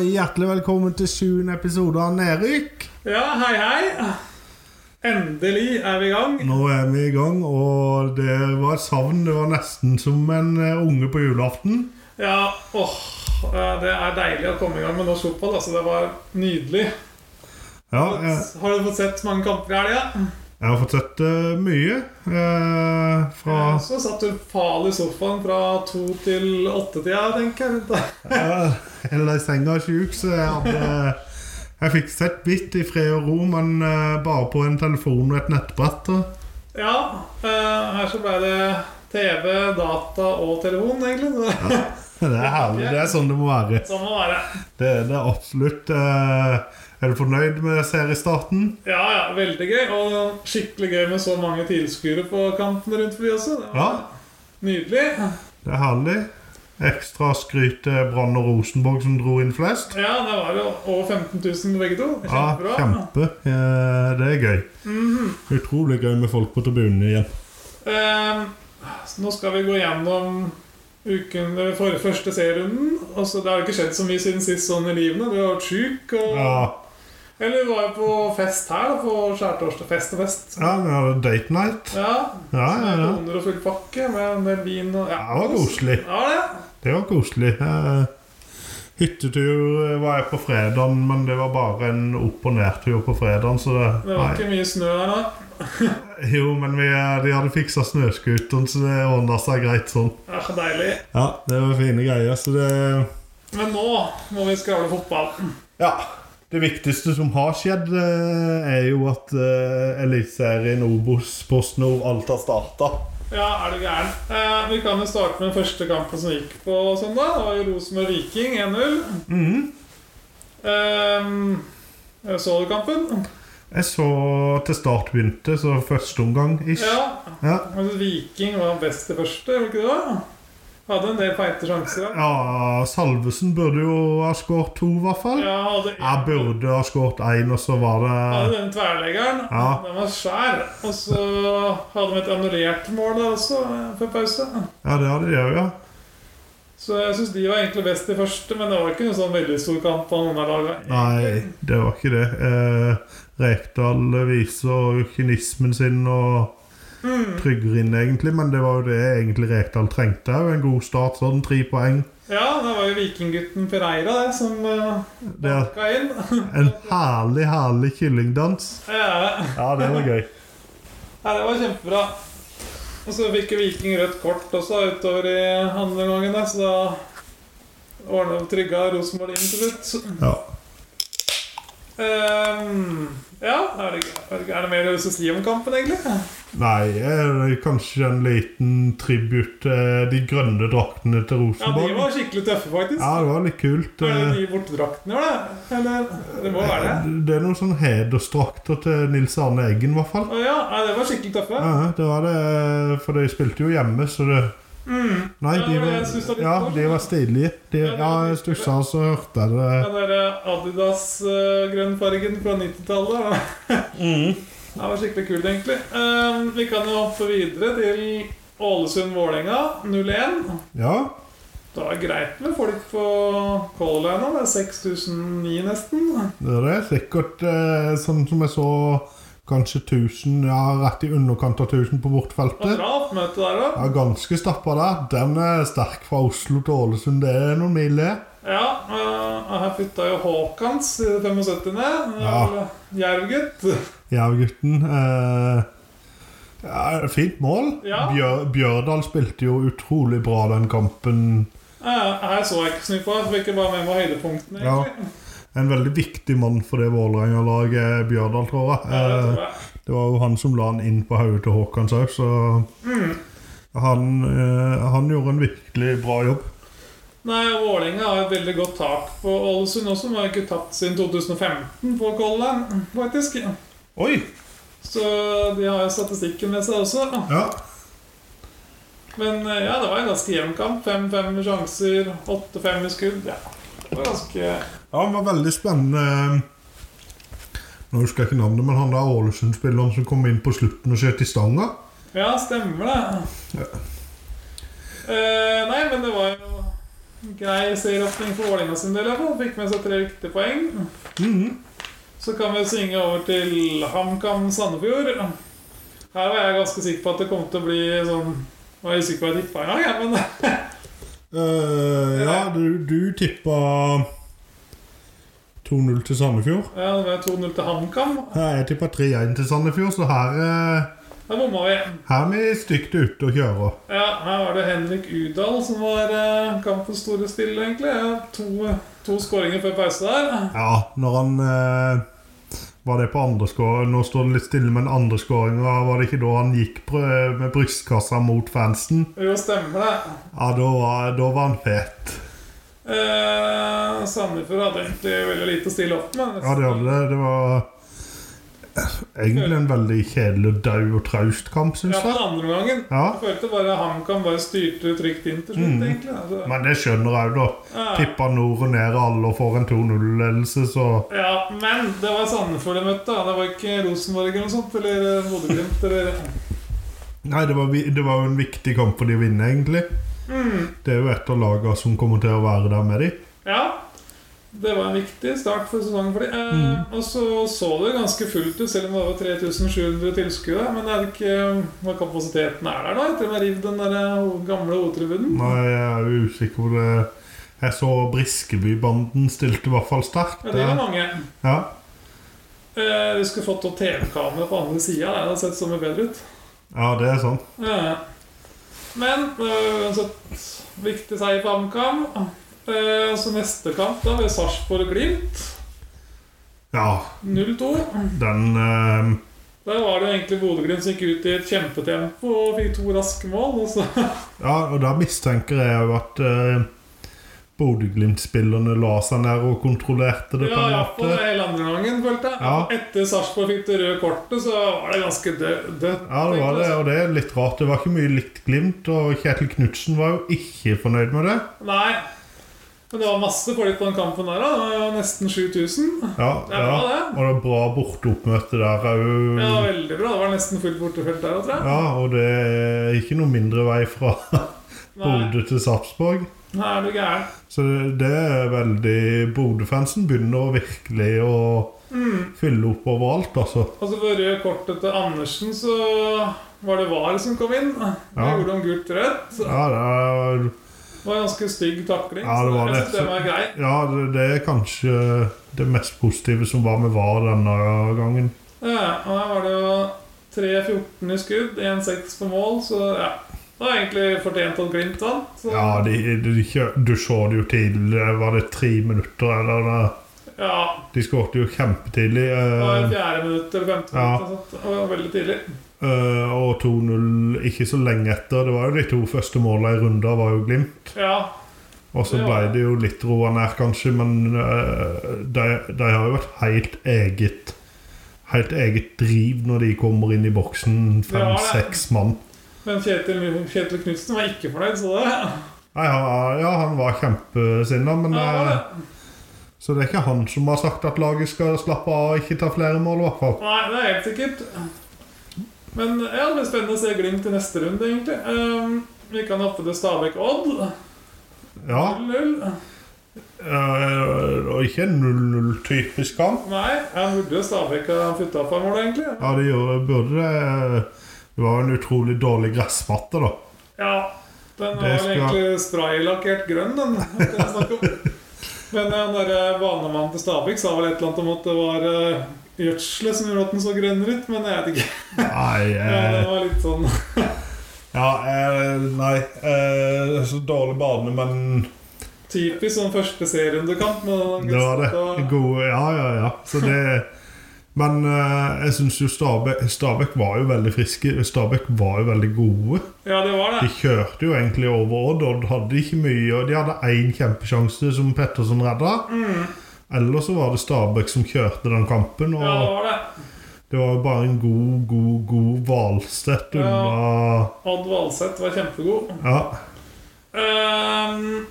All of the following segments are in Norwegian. Hjertelig velkommen til sjuende episode av Nedrykk. Ja, hei, hei. Endelig er vi i gang. Nå er vi i gang, og det var et savn. Det var nesten som en eh, unge på julaften. Ja, åh, eh, det er deilig å komme i gang med norsk fotball. Altså, det var nydelig. Ja, jeg, Har du fått sett mange kamper i helga? jeg har fått sett eh, mye. Eh, fra Ja. Så satt du fal i sofaen fra to til åtte-tida, tenker jeg. ja, Eller i senga sjuk, så jeg hadde Jeg fikk sett bitt i fred og ro, men eh, bare på en telefon og et nettbrett. da. Ja, eh, her så ble det TV, data og telefon, egentlig. Så, Det er herlig. Det er sånn det må være. sånn må det være. Det, det er absolutt eh, Er du fornøyd med seriestarten? Ja, ja, veldig gøy. Og skikkelig gøy med så mange tilskuere på kanten rundt forbi også. Det Ja. var Nydelig. Det er herlig. Ekstra skryt til Brann og Rosenborg som dro inn flest. Ja, det var jo over 15 000 begge to. Ja, Kjempebra. Mhm. kjempe. Eh, Det er gøy. Utrolig gøy med folk på tribunen igjen. Ehm, så nå skal vi gå gjennom uken, eller for første serierunden. Og så Det har jo ikke skjedd så mye siden sist sånn i livene. Du har vært sjuk. Og... Ja, Eller du var jo på fest her, da, på skjærtorsdagsfest og fest. ja vi hadde date night. Ja. Ja, ja, ja. Koner og full pakke med en del vin og Ja, det var koselig. Ja, det. Det var koselig. Eh, Hyttetur eh, var jeg på fredagen, men det var bare en opp- og nedtur på fredagen, så det Det var Nei. ikke mye snø her da. Jo, men vi, eh, de hadde fiksa snøscooteren, så det ordna seg greit sånn. Ja, deilig. Ja, det var fine greier, så det Men nå må vi skravle fotball. Ja. Det viktigste som har skjedd, eh, er jo at eh, Eliteserien, Obos, Post Nord, alt har starta. Ja, er du gæren. Eh, vi kan jo starte med den første kampen som gikk på søndag. Det var jo Rosenborg-Viking 1-0. Mhm. Ehm, så du kampen? Jeg så til start begynte, så første omgang ish. Ja. Ja. Altså, Viking var best i første, var det ikke det? Hadde en del feite sjanser. da. ja, Salvesen burde jo ha skåret to, i hvert fall. Ja, hadde Jeg burde ha skåret én, og så var hadde det den tverrleggeren. Ja. Den var skjær. Og så hadde de et annullert mål da også, eh, før pause. Ja, det hadde de òg, ja. Så jeg syns de var egentlig best i første, men det var ikke noen sånn veldig stor kamp på noen av lagene. Nei, det var ikke det. Eh, Rekdal viser kynismen sin og Mm. trygger inn, egentlig. Men det var jo det egentlig Rekdal trengte. jo En god start, sånn tre poeng. Ja, det var jo vikinggutten Pereira det, som uh, Det er banka inn. en herlig, herlig kyllingdans. ja, ja. Ja, det var gøy. Nei, det var kjempebra. Og så fikk jo Viking rødt kort også utover i andre gangen, der, så da ordna de trygga Rosenborg inn til slutt. Ja. Ehm, ja, er det, er det- er det mer du vil si om kampen, egentlig? Nei, eh, kanskje en liten tribute til de grønne draktene til Ja, de Rosenborg. var skikkelig tøffe, faktisk. Ja, det var litt kult. Er det eh. de bortedraktene, var det? Eller Det må være det. Det er noen sånn hedersdrakter til Nils Arne Eggen, i hvert fall. Å ja, nei, det var skikkelig tøffe. Ja, det var det, eh, for de spilte jo hjemme, så det Nei, Mm. Ja, de men jeg stusset var, litt ja, på det. de var stilige. De, Ja, det ja, var jeg litt stussa, og så hørte jeg det. Den der eh, Adidas-grønnfargen fra 90-tallet. da. Mm. Det var skikkelig kult, egentlig. Ehm, Vi kan jo hoppe videre til Ålesund-Vålerenga 0-1. Ja, Det var greit med folk på Color Line nå. Det er 6009 nesten. det er det. Sikkert eh, sånn som jeg så kanskje 1000, ja, rett i underkant av 1000 på Det var bortfeltet. bra oppmøte der òg. Ja, ganske stappa der. Den er sterk fra Oslo til Ålesund. Det er noen mil, det. Ja, eh, her flytta jo Haakons i det 75. Ja. Jervgutt. Jervgutten. Eh, ja, fint mål. Ja. Bjør, Bjørdal spilte jo utrolig bra den kampen. Eh, Her så jeg ikke så mye på. Jeg fikk jo bare med meg høydepunktene. Ja. egentlig. En veldig viktig mann for det Vålerenga-laget, er Bjørdal, tror jeg. Ja, det Eh, tror jeg. Det var jo han som la han inn på hodet til Håkan Saus, så Mm. han, eh, han gjorde en virkelig bra jobb. Nei, Vålerenga har et veldig godt tak på Ålesund også. De har ikke tapt siden 2015 på Collen, faktisk. Oi! Så de har jo statistikken med seg også. Ja. Men eh, ja, det var en ganske jevn kamp. 5-5 i sjanser, 8-5 i skudd. Ja, det var ganske ja, han var veldig spennende. Nå husker jeg ikke navnet, men han der Ålesund-spilleren som kom inn på slutten og skjøt i stanga. Ja, stemmer det. Eh, nei, men det var jo Grei serieåpning for Vålerenga sin del. i hvert fall. Fikk med seg tre viktige poeng. Mm. Så kan vi svinge over til HamKam Sandefjord. Her var jeg ganske sikker på at det kom til å bli sånn Var jeg sikker på at jeg tippa en gang, jeg, men Eh, ja, du, du tippa 2-0 til Sandefjord. ja, det var 2-0 til HamKam. Her, jeg tippa 3-1 til Sandefjord, så her, eh, Der bomma vi. her er vi stygt ute å kjøre. Ja, her var det Henrik Udal som var eh, kampens store spiller, egentlig. Ja, to, to skåringer før pause der. Ja, når han eh, Var det på andre skåring? Nå står det litt stille, men andre skåringa var det ikke da han gikk prø- med brystkassa mot fansen? Jo, stemmer det. Ja, da var, da var han fet. Eh, Sandefjord hadde egentlig veldig lite å stille opp med. Ja, det hadde det. Det var egentlig en veldig kjedelig, dau og traust kamp, Ja, syns på jeg. den andre gangen. Ja, Jeg følte bare HamKam bare styrte trygt inn til slutt, Mm. egentlig. Altså, Men det skjønner jeg jo, da. ja. Tippa nord og ned alle og får en 2-0-ledelse, så ja, men det var Sandefjord de møtte. da. Det var ikke Rosenborg eller noe sånt, eller eh, Bodø-Glimt eller Nei, det var, vi- det var jo en viktig kamp for de å vinne, egentlig. mm. Det er jo et av lagene som kommer til å være der med de. Ja. Det var en viktig start for sesongen for dem. Eh, Og så så det ganske fullt ut, selv om det var 3700 tilskuere. Men det er ikke hva kapasiteten er der nå, etter at de har revet den der eh, gamle hovedtribunen. Nei, jeg er jo usikker på det. Jeg så Briskebybanden stilte i hvert fall sterkt. Ja, det var mange. Ja. Eh, vi skulle fått noe TV-kamera på andre sida. Det hadde sett så mye bedre ut. ja, det er sånn. Ja. Men det var uansett viktig seier for HamKam. Eh, Så neste kamp da blir Sarpsborg-Glimt. Ja, 0-2. den eh, Der var det jo egentlig Bodø-Glimt som gikk ut i et kjempetempo og fikk to raske mål. Og så Ja, og da mistenker jeg jo at eh, Bodø-Glimt-spillerne la seg ned og kontrollerte det på ja, en iallfall måte. hele andre gangen, følte jeg. Ja. Etter Sarpsborg fikk det røde kortet, så var det ganske dø- dødt. Ja, det var det, og det er litt rart. Det var ikke mye likt Glimt, og Kjetil Knutsen var jo ikke fornøyd med det. Nei. Men det var masse folk på den kampen der. da Det var Nesten 7000. Ja, Det er ja. bra, det. Og det er bra borteoppmøte der òg. Ja, veldig bra. Det var nesten fullt bortefelt der, tror jeg. Mm. Ja, og det er ikke noe mindre vei fra Nei, Bodø til Sarpsborg. Nei, er du gæren? Så det- det er veldig Bodø-fansen begynner å virkelig å fylle opp overalt, altså. Altså på rød kortet til Andersen så var det VAR som kom inn. Det Ja. gjorde om gult rødt. Det Ja, det er, var en ganske stygg takling. Ja, det var så jeg det. synes den var grei. ja, det- det er kanskje det mest positive som var med VAR denne gangen. Ja, og her var det jo 3-14 i skudd, 1-6 på mål, så ja. Det var egentlig fortjent at Glimt vant. Så, Ja, de, de, de, kjø- Du så det jo tidlig. Var det tre minutter, eller? noe? ja, De skåret jo kjempetidlig. det var i eh, fjerde minutt eller femte Ja. minutt. og sånt. Det var veldig tidlig. eh, og 2-0 ikke så lenge etter. Det var jo de to første målene i runden var jo Glimt. Ja, Og så Ja. ble det jo litt roa ned, kanskje, men eh, de, de har jo et helt eget Helt eget driv når de kommer inn i boksen, Ja, det. fem-seks mann. men Kjetil, Kjetil Knutsen var ikke fornøyd, så det Nei, han, ja, han var kjempesinna, men Ja, det var eh, det. Så det er ikke han som har sagt at laget skal slappe av og ikke ta flere mål, i hvert fall. Nei, det er helt sikkert. Men ja, det blir spennende å se Glimt i neste runde, egentlig. Ehm, vi kan hoppe til Stabæk Odd. Ja, 0-0. eh, og ikke en 0-0-typisk kamp. Nei, jeg burde jo Stabæk ha putta på mål, egentlig. Ja, det gjorde, burde det. eh, Det var jo en utrolig dårlig gressmatte, da. Ja. Den var Det vel skal- egentlig spraylakkert grønn, den. det er snakk om. Men ja, den derre banemannen til Stabæk sa vel et eller annet om at det var eh, gjødselet som gjorde at den så grønnere ut, men jeg vet ikke. Nei, Ja, eh, den var litt sånn Ja, eh, nei eh, Så dårlig bane, men typisk sånn første serierundekamp. men det var det. da- Gode, ja, ja, ja. Så det Men eh, jeg syns jo Stabæk, Stabæk var jo veldig friske. Stabæk var jo veldig gode. Ja, det var det. De kjørte jo egentlig over Odd. Odd hadde ikke mye, og de hadde én kjempesjanse som Petterson redda. Mm. Ellers så var det Stabæk som kjørte den kampen, Ja, det og var det. det var jo bare en god, god, god Hvalstedt Ja. unna Odd Valseth var kjempegod. Ja. Ehm,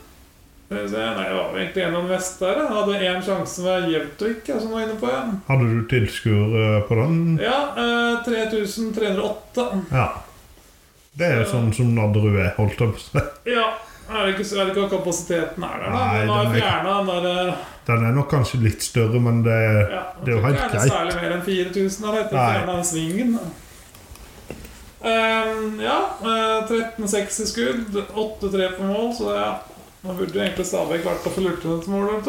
skal vi se, nei, det var jo egentlig en av de beste der. da. Hadde én sjanse med Jevtvik, ja, som var inne på. Ja, Hadde du tilskuere på den? ja eh, 3308. Ja. Det er jo sånn som Nadderud er, holdt jeg på å si. Ja, Er det ikke, er det ikke at kapasiteten er der, da? Nei, Den har den er- fjerna den der eh, Den er nok kanskje litt større, men det, ja, det er jo helt ikke greit. særlig mer enn 4000 av dette. Nei. Fjerna svingen. da. Ehm, ja. eh, 13-6 i skudd. 8-3 på mål, så ja. Nå burde jo egentlig Stabæk vært på Fulurtenes-målet.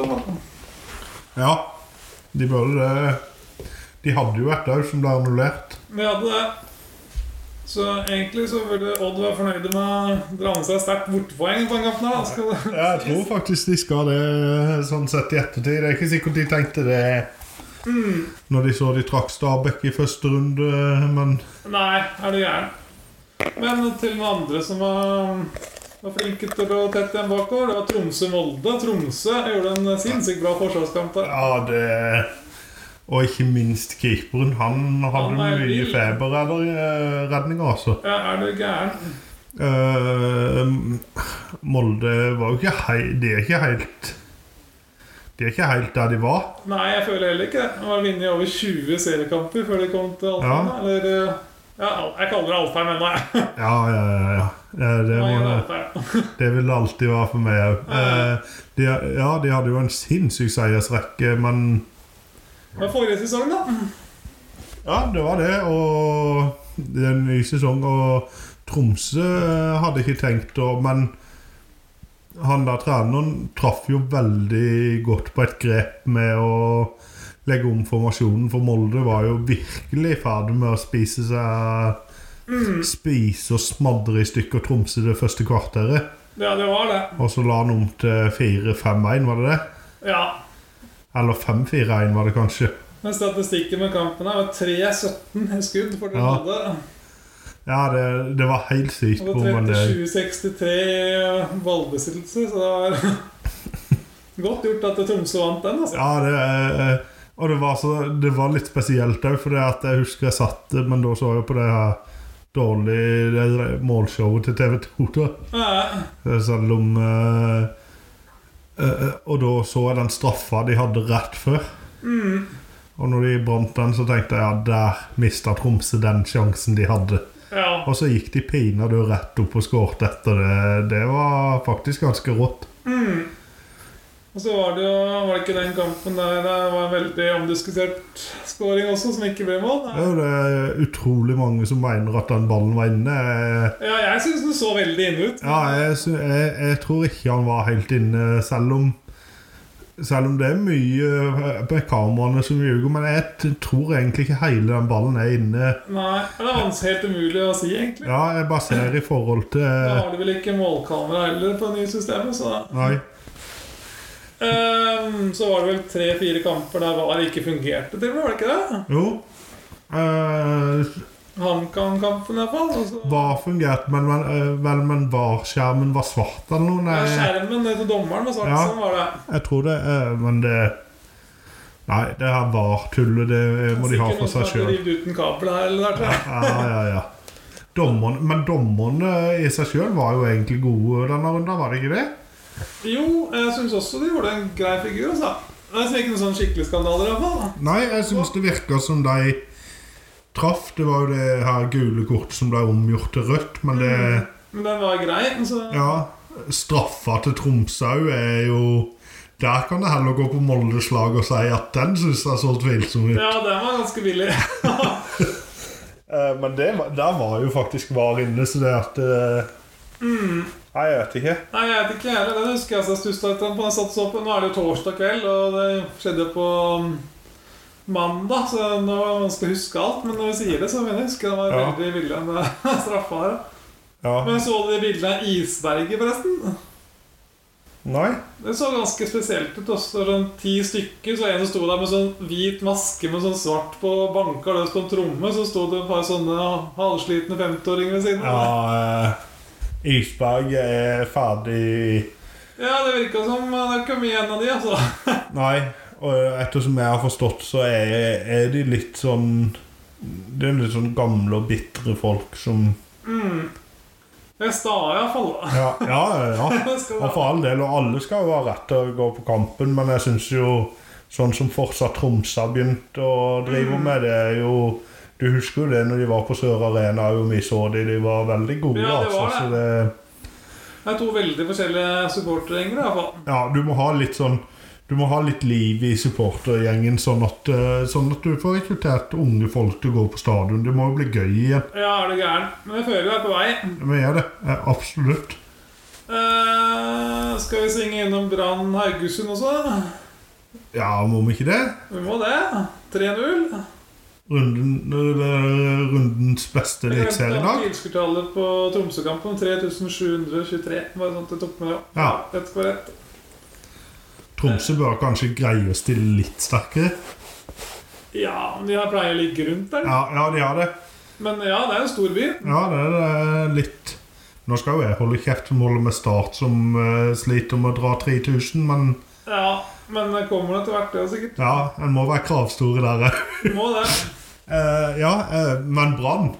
Ja, de burde det. De hadde jo et òg som ble annullert. Vi hadde det. Så egentlig så burde Odd være fornøyde med å dra med seg sterkt bortepoeng på den kampen. her, Da. Skal det- Jeg tror faktisk de skal det, sånn sett i ettertid. Det er ikke sikkert de tenkte det Mm. når de så de trakk Stabæk i første runde, men Nei, er du gæren. Men til den andre som var, var flinke til å tette igjen bakover, det var Tromsø-Molde. Tromsø gjorde en sinnssykt bra forsvarskamp der. ja, det Og ikke minst keeperen. Han hadde Han er mye vill. feberredninger, altså. Ja, er du gæren? Eh, Molde var jo ikke hei, De er ikke helt De er ikke helt der de var. Nei, jeg føler heller ikke det. De har vunnet over 20 seriekamper før de kom til Alfheim. Ja. Eller eh, ja, Al- Jeg kaller det Alfheim ennå, jeg. Ja, ja, ja. ja. Eh, Det Nei, var det. Alfheim. Det vil det alltid være for meg òg. Ja. Eh, de, ja, de hadde jo en sinnssyk seiersrekke, men Men forrige sesong, da? Ja, det var det. Og det er en ny sesong, og Tromsø eh, hadde ikke tenkt å Men han der treneren traff jo veldig godt på et grep med å legge om formasjonen, for Molde var jo virkelig i ferd med å spise seg Spise og smadre i stykker Tromsø det første kvarteret. Ja, det var det. Og så la han om til 4-5-1, var det det? Ja. Eller 5-4-1 var det kanskje. Men statistikken med kampen her var 3-17 i skudd for den Ja. hadde. Ja, det, det var helt sykt. Og hvor det man er det, 37-63 eh, ballbesittelse, så det var godt gjort at Tromsø vant den. altså. ja, det eh, Og det var, så, det var litt spesielt òg, for det at jeg husker jeg satt eh, Men da så jeg på det her dårlige det der målshowet til TV 2, da. Ja. Det er Selv om eh, eh, Og da så jeg den straffa de hadde rett før. Og når de brant den, så tenkte jeg ja, der mista Tromsø den sjansen de hadde. ja. Og så gikk de pinadø rett opp og skåret etter det. Det var faktisk ganske rått. Mm. Og så var det jo Var det ikke den kampen der det var en veldig omdiskutert scoring også, som ikke ble mål? Det er jo det utrolig mange som mener at den ballen var inne. Jeg- Ja, jeg syns den så veldig inne ut. Ja, jeg, sy- jeg, jeg tror ikke han var helt inne, selv om selv om det er mye eh, med kameraene som ljuger, men jeg t- tror egentlig ikke hele den ballen er inne. Nei, Det er vans- helt umulig å si, egentlig. Ja, jeg bare ser i forhold Da til eh, har de vel ikke målkamera heller på det nye systemet, så da Nei. Ehm, Så var det vel tre-fire kamper der VAR ikke fungerte, til og med, var det ikke det? Jo. Eh, HamKam-kampen, iallfall. Og så var fungert, men, men, eh, vel, men var skjermen var svart eller noe? Ja, Nei, skjermen ned til dommeren var svart, Ja. sånn var det. jeg tror det, eh, men det Nei, det her var tullet. Det må de ha for seg sjøl. Sikkert noen som hadde rivd uten kabel her eller der, tror jeg. ja, ja, ja. Dommerne, men dommerne i seg sjøl var jo egentlig gode denne runden, var det ikke det? Jo, jeg syns også de gjorde en grei figur, altså. Det er liksom ikke noen sånn skikkelig skandaler, iallfall. Nei, jeg syns det virka som de traff. Det var jo det her gule kortet som ble omgjort til rødt, men det Men den var grei. Så Ja. Straffa til Tromsø òg er jo Der kan det heller gå på Moldes lag og si at den syns jeg så tvilsom ut. ja, den var ganske billig. Eh, Men det, var- der var jo faktisk VAR inne, så det at eh, Nei, jeg vet ikke. Nei, jeg vet ikke, jeg heller. Den husker jeg altså, så jeg stussa litt på. når Jeg satt og så på. Nå er det jo torsdag kveld, og det skjedde på um, mandag, så nå er det vanskelig å huske alt. Men når vi sier det, så mener jeg å huske den var Ja. veldig villig enn straffa her. Ja. Men så du det bildet av isberget, forresten? Nei. Det så ganske spesielt ut. Også. Det var Sånn ti stykker, så en som sto der med sånn hvit maske med sånn svart på banka løs på en tromme. Så sto det et par sånne halvslitne 50-åringer ved siden av. Ja, eh, Isberg er ferdig Ja, det virka som eh, det er ikke mye igjen av de, altså. Nei, og ettersom jeg har forstått, så er, er de litt sånn Det er litt sånn gamle og bitre folk som Det er sta iallfall. Ja, ja, ja. ja. Og for all del, og alle skal jo ha rett til å gå på kampen, men jeg syns jo sånn som fortsatt Tromsø har begynt å drive med, det er jo Du husker jo det når de var på Sør Arena, og vi så de, de var veldig gode, Ja, det var altså. Så det Det er to veldig forskjellige supportergjenger. i hvert fall. Ja, du må ha litt sånn Du må ha litt liv i supportergjengen, sånn at, eh, sånn at du får rekruttert unge folk til å gå på stadion. Det må jo bli gøy igjen. Ja, er du gæren? Men jeg føler vi er på vei. Vi er det. eh, Absolutt. Eh, skal vi synge innom Brann Haugesund også? Ja, må vi ikke det? Vi må det. 3-0. Runden, eller rundens beste eliteserie i dag. Tilskuertallet på Tromsø-kampen 3723. Bare sånn at jeg tok med det. Ja. Rett for rett. Tromsø bør kanskje greie å stille litt sterkere. Ja, men de her pleier å ligge rundt der. Ja, ja de har det. Men ja, det er en stor by. Ja, det er det litt Nå skal jo jeg holde kjeft som holder med Start, som eh, sliter med å dra 3000, men Ja, men det kommer det etter hvert, det er sikkert. ja, en må være kravstore der òg. Vi må det. Eh, ja, eh, men Brann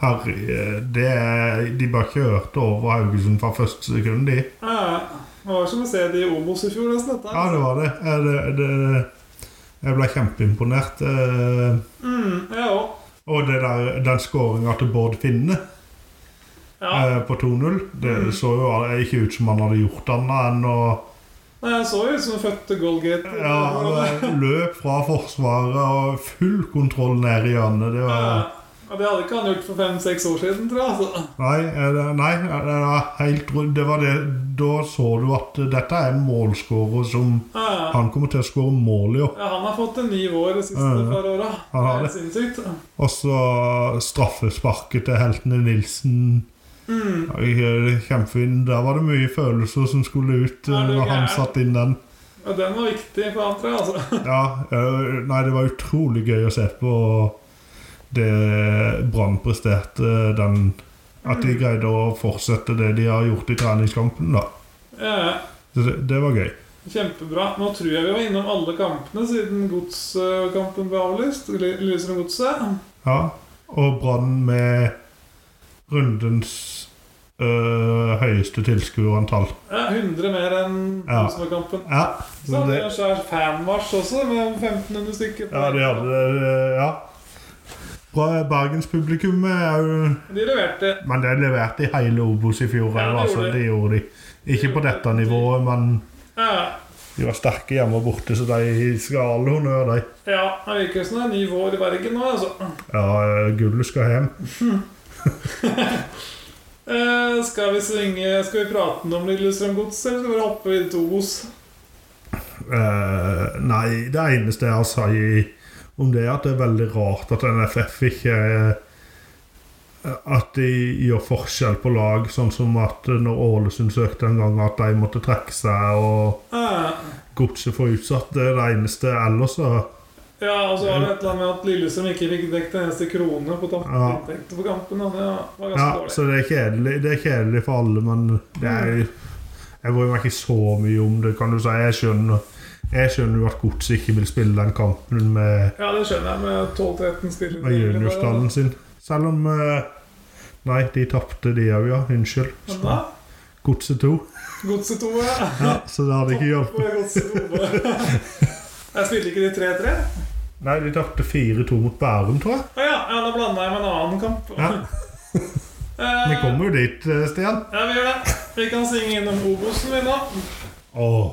Herre, eh, det er- De bør ikke hørte over Haugesund fra første sekund, de. Ja, ja. det var som å se de i Obos i fjor, nesten. Dette. Ja, det var det. Eh, det, det jeg ble kjempeimponert. Eh, Mm, jeg òg. og det der, den skåringa til Bård Finne Ja. eh, på 2-0, det så jo all- ikke ut som han hadde gjort annet enn å Nei, jeg så jo ut som en fødte Golgate. ja, eh, løp fra forsvaret og full kontroll ned i hjørnet. Det var Ja, det hadde ikke han gjort for fem-seks år siden, tror jeg. Altså. Nei, eh, det- nei eh, det var helt rundt. Det var det. Da så du at eh, dette er en målskårer som Ja, ja. Han kommer til å skåre mål i år. Ja, han har fått en ny vår de siste Ja, ja. par åra. Han har Helt sinnssykt. Og så straffesparket til heltene Nilsen. Mm. Ja, det er Kjempefin. Der var det mye følelser som skulle ut Er eh, du når han gæren? satte inn den. Ja, den var viktig for han, tror jeg. Altså. Ja, eh, Nei, det var utrolig gøy å se på det Brann presterte eh, den At de greide å fortsette det de har gjort i treningskampen, da. Ja, ja. Det, det var gøy. Kjempebra. Nå tror jeg vi var innom alle kampene siden godskampen ble avlyst. L- Lillestrøm Godset. Ja. Og Brann med rundens eh, høyeste tilskuerantall. Ja, 100 mer enn Ja. Rosenborg-kampen. Ja. Så hadde vi en svær fanmarsj også, med 1500 stykker. Ja, de hadde det. Ja. Bra, Bergens publikum er jo De leverte. Men det leverte i hele Obos i fjor. Ja, det altså, gjorde det gjorde de. Ikke på dette nivået, men Ja, de var sterke hjemme og borte, så de skal ha all honnør, de. ja. Det virker som det er ny vår i Bergen nå, altså. Ja, eh, gullet skal hjem. Eh, skal vi svinge Skal vi prate om Lillestrøm Gods, eller skal vi bare hoppe videre til Obos? Eh, nei, det eneste jeg har å si om det, er at det er veldig rart at NFF ikke eh, At de gjør forskjell på lag, sånn som at når Ålesund søkte en gang, at de måtte trekke seg og Ja. godset for utsatt. Det er det eneste ellers. Da. Ja, og så var det et eller annet med at Lillestrøm ikke fikk dekket en eneste krone på tampen, Ja. inntekter på kampen. og Det var ganske Ja, dårlig. så det er, kjedelig, det er kjedelig for alle, men det er Jeg bryr meg ikke så mye om det, kan du si. Jeg skjønner jeg skjønner jo at godset ikke vil spille den kampen med, Ja, det skjønner jeg, med 12-13 spillere. med juniorstallen sin. Selv om eh, Nei, de tapte, de òg, ja. Unnskyld. Men da, Godset 2. Godset 2, ja. Ja, så det hadde ikke hjulpet. Godset 2. Jeg spilte ikke de 3-3. Nei, de tapte 4-2 mot Bærum, tror jeg. Å ja, ja, da blanda jeg med en annen kamp. Ja, Eh, Vi kommer jo dit, eh, Stian. Ja, vi gjør det. Vi kan synge innom Obosen, vi nå. Åh,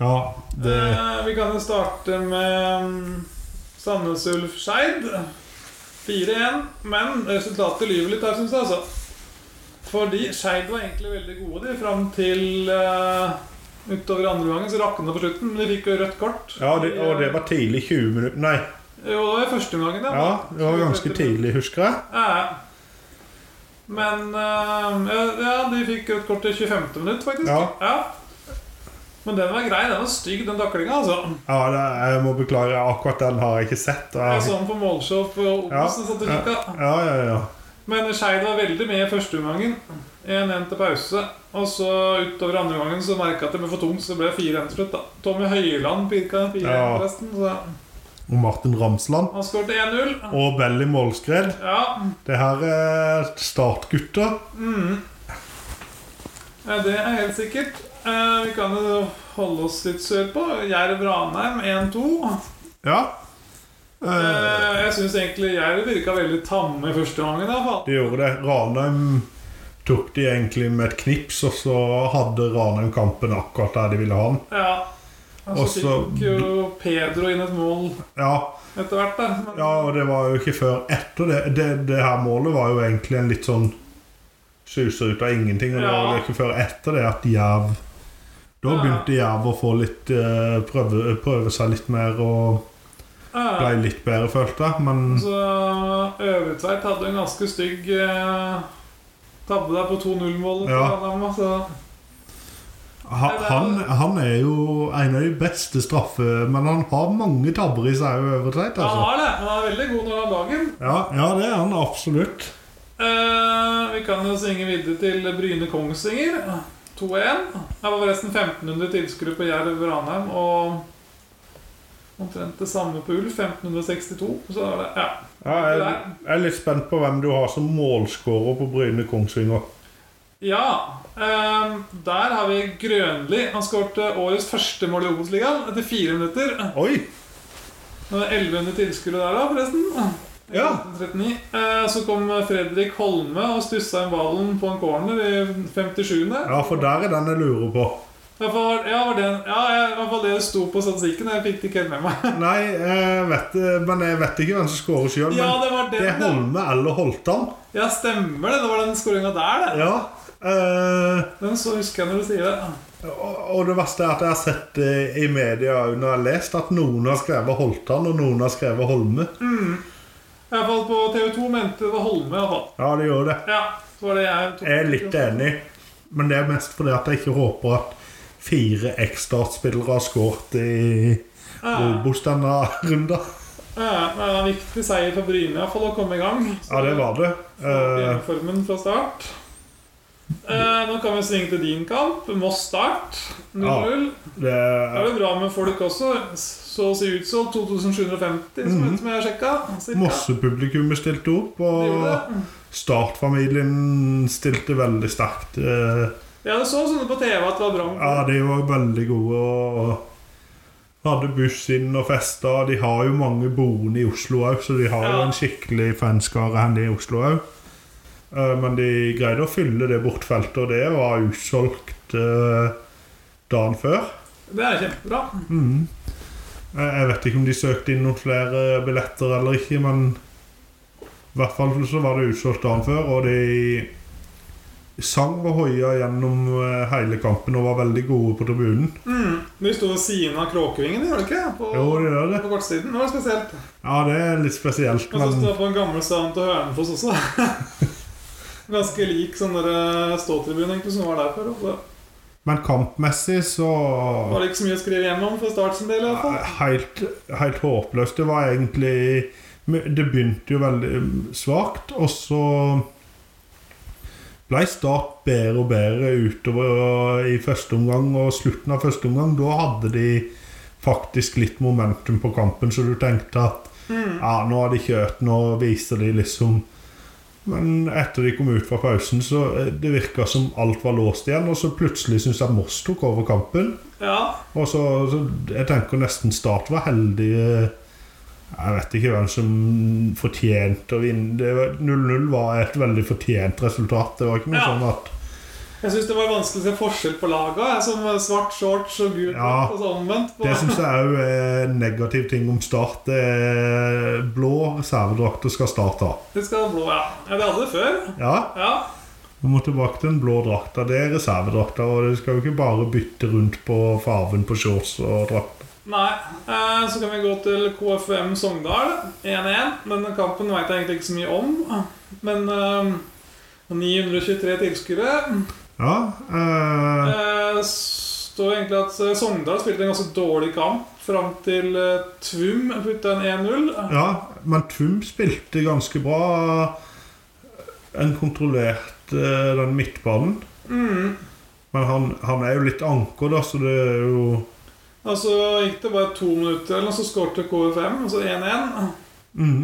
ja. Det Eh, vi kan jo starte med mm, Sandnes Ulf Skeid. 4-1. Men resultatet lyver litt her, syns jeg, altså. Fordi Skeid var egentlig veldig gode de, fram til eh, utover andre gangen. Så rakna på slutten, men de fikk jo rødt kort. Ja, det, og det var tidlig 20 minutter Nei, Jo, det var i første omgangen, det. ja, det var ganske tidlig, husker jeg. Ja. Men eh, ja, ja, de fikk rødt kort i 25. minutt, faktisk. Ja. Men den var grei. Den var stygg, den taklinga, altså. Ja, det, jeg må beklage, akkurat den har jeg ikke sett. og Jeg Jeg, så han på målshow på Osen, satt og kikka. ja, ja, ja. Men Skeid var veldig med i første omgangen. 1-1 til pause. Og så utover andre omgangen så merka at det ble for tungt, så det ble 4-1 til slutt. da Tommy Høiland pirka 4-1 Ja. forresten. Så Og Martin Ramsland. han skåret 1-0. Og Belly Målskred. Ja. Det her er startgutter. ja, det er helt sikkert. Eh, vi kan jo holde oss litt sørpå. Jerv-Ranheim 1-2. Ja. Eh, Eh, jeg syns egentlig Jerv virka veldig tamme i første omgangen. i hvert fall. de gjorde det. Ranheim tok de egentlig med et knips, og så hadde Ranheim kampen akkurat der de ville ha den. Ja. Og så Også- fikk jo Pedro inn et mål Ja, etter hvert, da. Men, ja, og det var jo ikke før etter det. Det, det her målet var jo egentlig en litt sånn suser ut av ingenting, og det Ja. var jo ikke før etter det at Jerv Da Ja. begynte Jerv å få litt eh, prøve, prøve seg litt mer og ja. ble litt bedre, følte jeg. Men Så Øvertveit hadde en ganske stygg eh, tabbe der på 2-0-målet. Ja. for Ranheim, altså. ha- han, han er jo en av de beste straffe... Men han har mange tabber i seg òg, Øvertveit. Han Altså. har det. Han er veldig god når han har dagen. Ja, ja, det er han absolutt. Eh, vi kan jo synge videre til Bryne Kongsvinger. 2-1. Her var forresten 1500 tilskuere på Jerv Ranheim, og omtrent det samme på Ulf. 1562. Så da var det Ja. Ja, jeg, jeg er litt spent på hvem du har som målskårer på Bryne Kongsvinger. Ja, eh, der har vi Grønli. Han skårte årets første mål i Obos-ligaen etter fire minutter. Oi! Det var 1100 tilskuere der da, forresten. Ja. 1939. Eh, Så kom Fredrik Holme og stussa inn ballen på en corner i 57. Ja, for der er den jeg lurer på. Ja, for, ja, var det, ja, jeg- i hvert fall det sto på statistikken. Jeg fikk det ikke helt med meg. Nei, jeg vet, men jeg vet ikke hvem som skårer sjøl. Ja, Men det var det er den. Holme eller Holtan. Ja, ja stemmer det. Det var den skåringa der, det. Ja. eh, Den så husker jeg når du sier det. og og det verste er at jeg har sett det i media òg når jeg har lest at noen har skrevet Holtan, og noen har skrevet Holme. I hvert fall på TV2 mente det var Holme. i hvert fall. Ja, det gjør det. Ja, så var det jeg tok. Jeg er litt enig, men det er mest fordi at jeg ikke håper at fire eks-startspillere har skåret i Ja, Obos denne runden. ja, men det var en viktig seier for Bryne i hvert fall å komme i gang. Så- Ja, det var det. Eh, Formen fra start. Eh, nå kan vi svinge til din kamp. Moss start 0-0. Det er det, jo bra med folk også. Så å si utsolgt 2750, som, som jeg sjekka. cirka. Mosse-publikummet stilte opp, De gjorde Mhm. og det. Startfamilien stilte veldig sterkt. Eh, Ja, det så sånne på TV at det var bra med Ja, folk. de var veldig gode og hadde buss inn og festa. De har jo mange boende i Oslo òg, så de har jo Ja. en skikkelig fanskare her i Oslo òg. Men de greide å fylle det bortfeltet, og det var utsolgt eh, dagen før. Det er kjempebra. Mhm. Jeg jeg vet ikke om de søkte inn noen flere billetter eller ikke, men i hvert fall så var det utsolgt dagen før, og de sang og hoia gjennom eh, hele kampen og var veldig gode på tribunen. Mm. De sto ved siden av Kråkevingen, gjorde de ikke? På, Jo, de gjør det. på kortsiden. Det var spesielt. Ja, det er litt spesielt, Og så men sto jeg på en gammel stand til Hønefoss også. Ganske lik sånn der, eh, ståtribune egentlig, som var der før. og så- Men kampmessig så Det var ikke så mye å skrive hjem om for Start sin del. i hvert fall. Helt, helt håpløst. Det var egentlig Det begynte jo veldig um, svakt, og så ble Start bedre og bedre utover uh, i første omgang og slutten av første omgang. Da hadde de faktisk litt momentum på kampen, så du tenkte at Mm. ja, nå har de kjørt, nå viser de liksom Men etter de kom ut fra pausen, så eh, det virka som alt var låst igjen, og så plutselig syns jeg Moss tok over kampen. Ja, Og så, så Jeg tenker nesten Start var heldig Jeg vet ikke hvem som fortjente å vinne. Det var- 0-0 var et veldig fortjent resultat. Det var ikke noe Ja. sånn at jeg syns det var vanskelig å se forskjell på laga. Jeg som svart shorts og gult Ja. og så omvendt. På, Det syns jeg òg er en negativ ting om Start. Det er blå reservedrakter skal Start ha. det skal ha blå, ja. ja. Det hadde det før. Ja, Ja, Vi må tilbake til den blå drakta. Det er reservedrakta, og du skal jo ikke bare bytte rundt på farven på shorts og drakt. Nei. Eh, så kan vi gå til KFM Sogndal. 1-1. Denne kampen veit jeg egentlig ikke så mye om. Men eh, 923 tilskuere. Ja, eh, Eh, står egentlig at eh, Sogndal spilte en ganske dårlig kamp fram til eh, Tvum putta en 1-0. Ja, men Tum spilte ganske bra. En kontrollerte eh, den midtbanen. Mm. Men han, han er jo litt anker, da, så det er jo Og så gikk det bare to minutter, eller noe, så skårte KFM, og så 1-1. mm.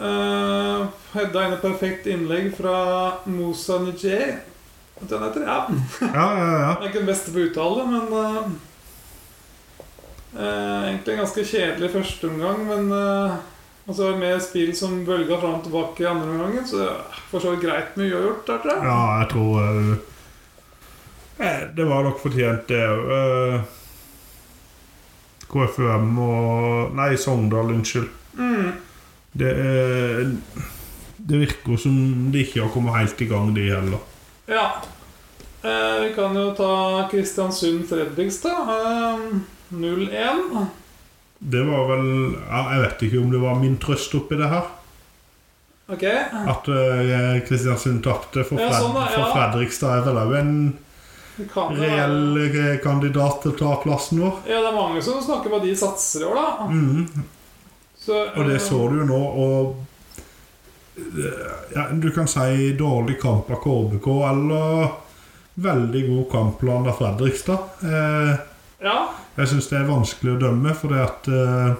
Uh, Hedda inn et perfekt innlegg fra Moussa Nijay. Vet du hva han heter? Ja. Han Ja, ja, ja. er ikke den beste på uttale, men eh, eh, Egentlig en ganske kjedelig førsteomgang, men eh, Og så med spill som bølga fram og tilbake i andre omgangen, så det er for så vidt greit med uavgjort der, tror jeg. Ja, jeg tror eh, eh, Det var nok fortjent, det òg. KFUM og Nei, Sogndal, unnskyld. Mm. Det, eh, det virker som de ikke har kommet helt i gang, de heller. Ja. Eh, vi kan jo ta Kristiansund-Fredrikstad. Eh, 0-1. Det var vel ja, Jeg vet ikke om det var min trøst oppi det her. Ok. At eh, Kristiansund tapte for, Ja, Fred sånn, ja. for Fredrikstad er vel òg en Det kan jo reell være- eh, kandidat til å ta plassen vår. Ja, det er mange som snakker om at de satser i år, da. Mhm. Så, Og det eh, så du jo nå, og eh, ja, Du kan si dårlig kamp av KBK eller veldig god kampplan av Fredrikstad. Eh, Ja. jeg syns det er vanskelig å dømme, fordi at eh,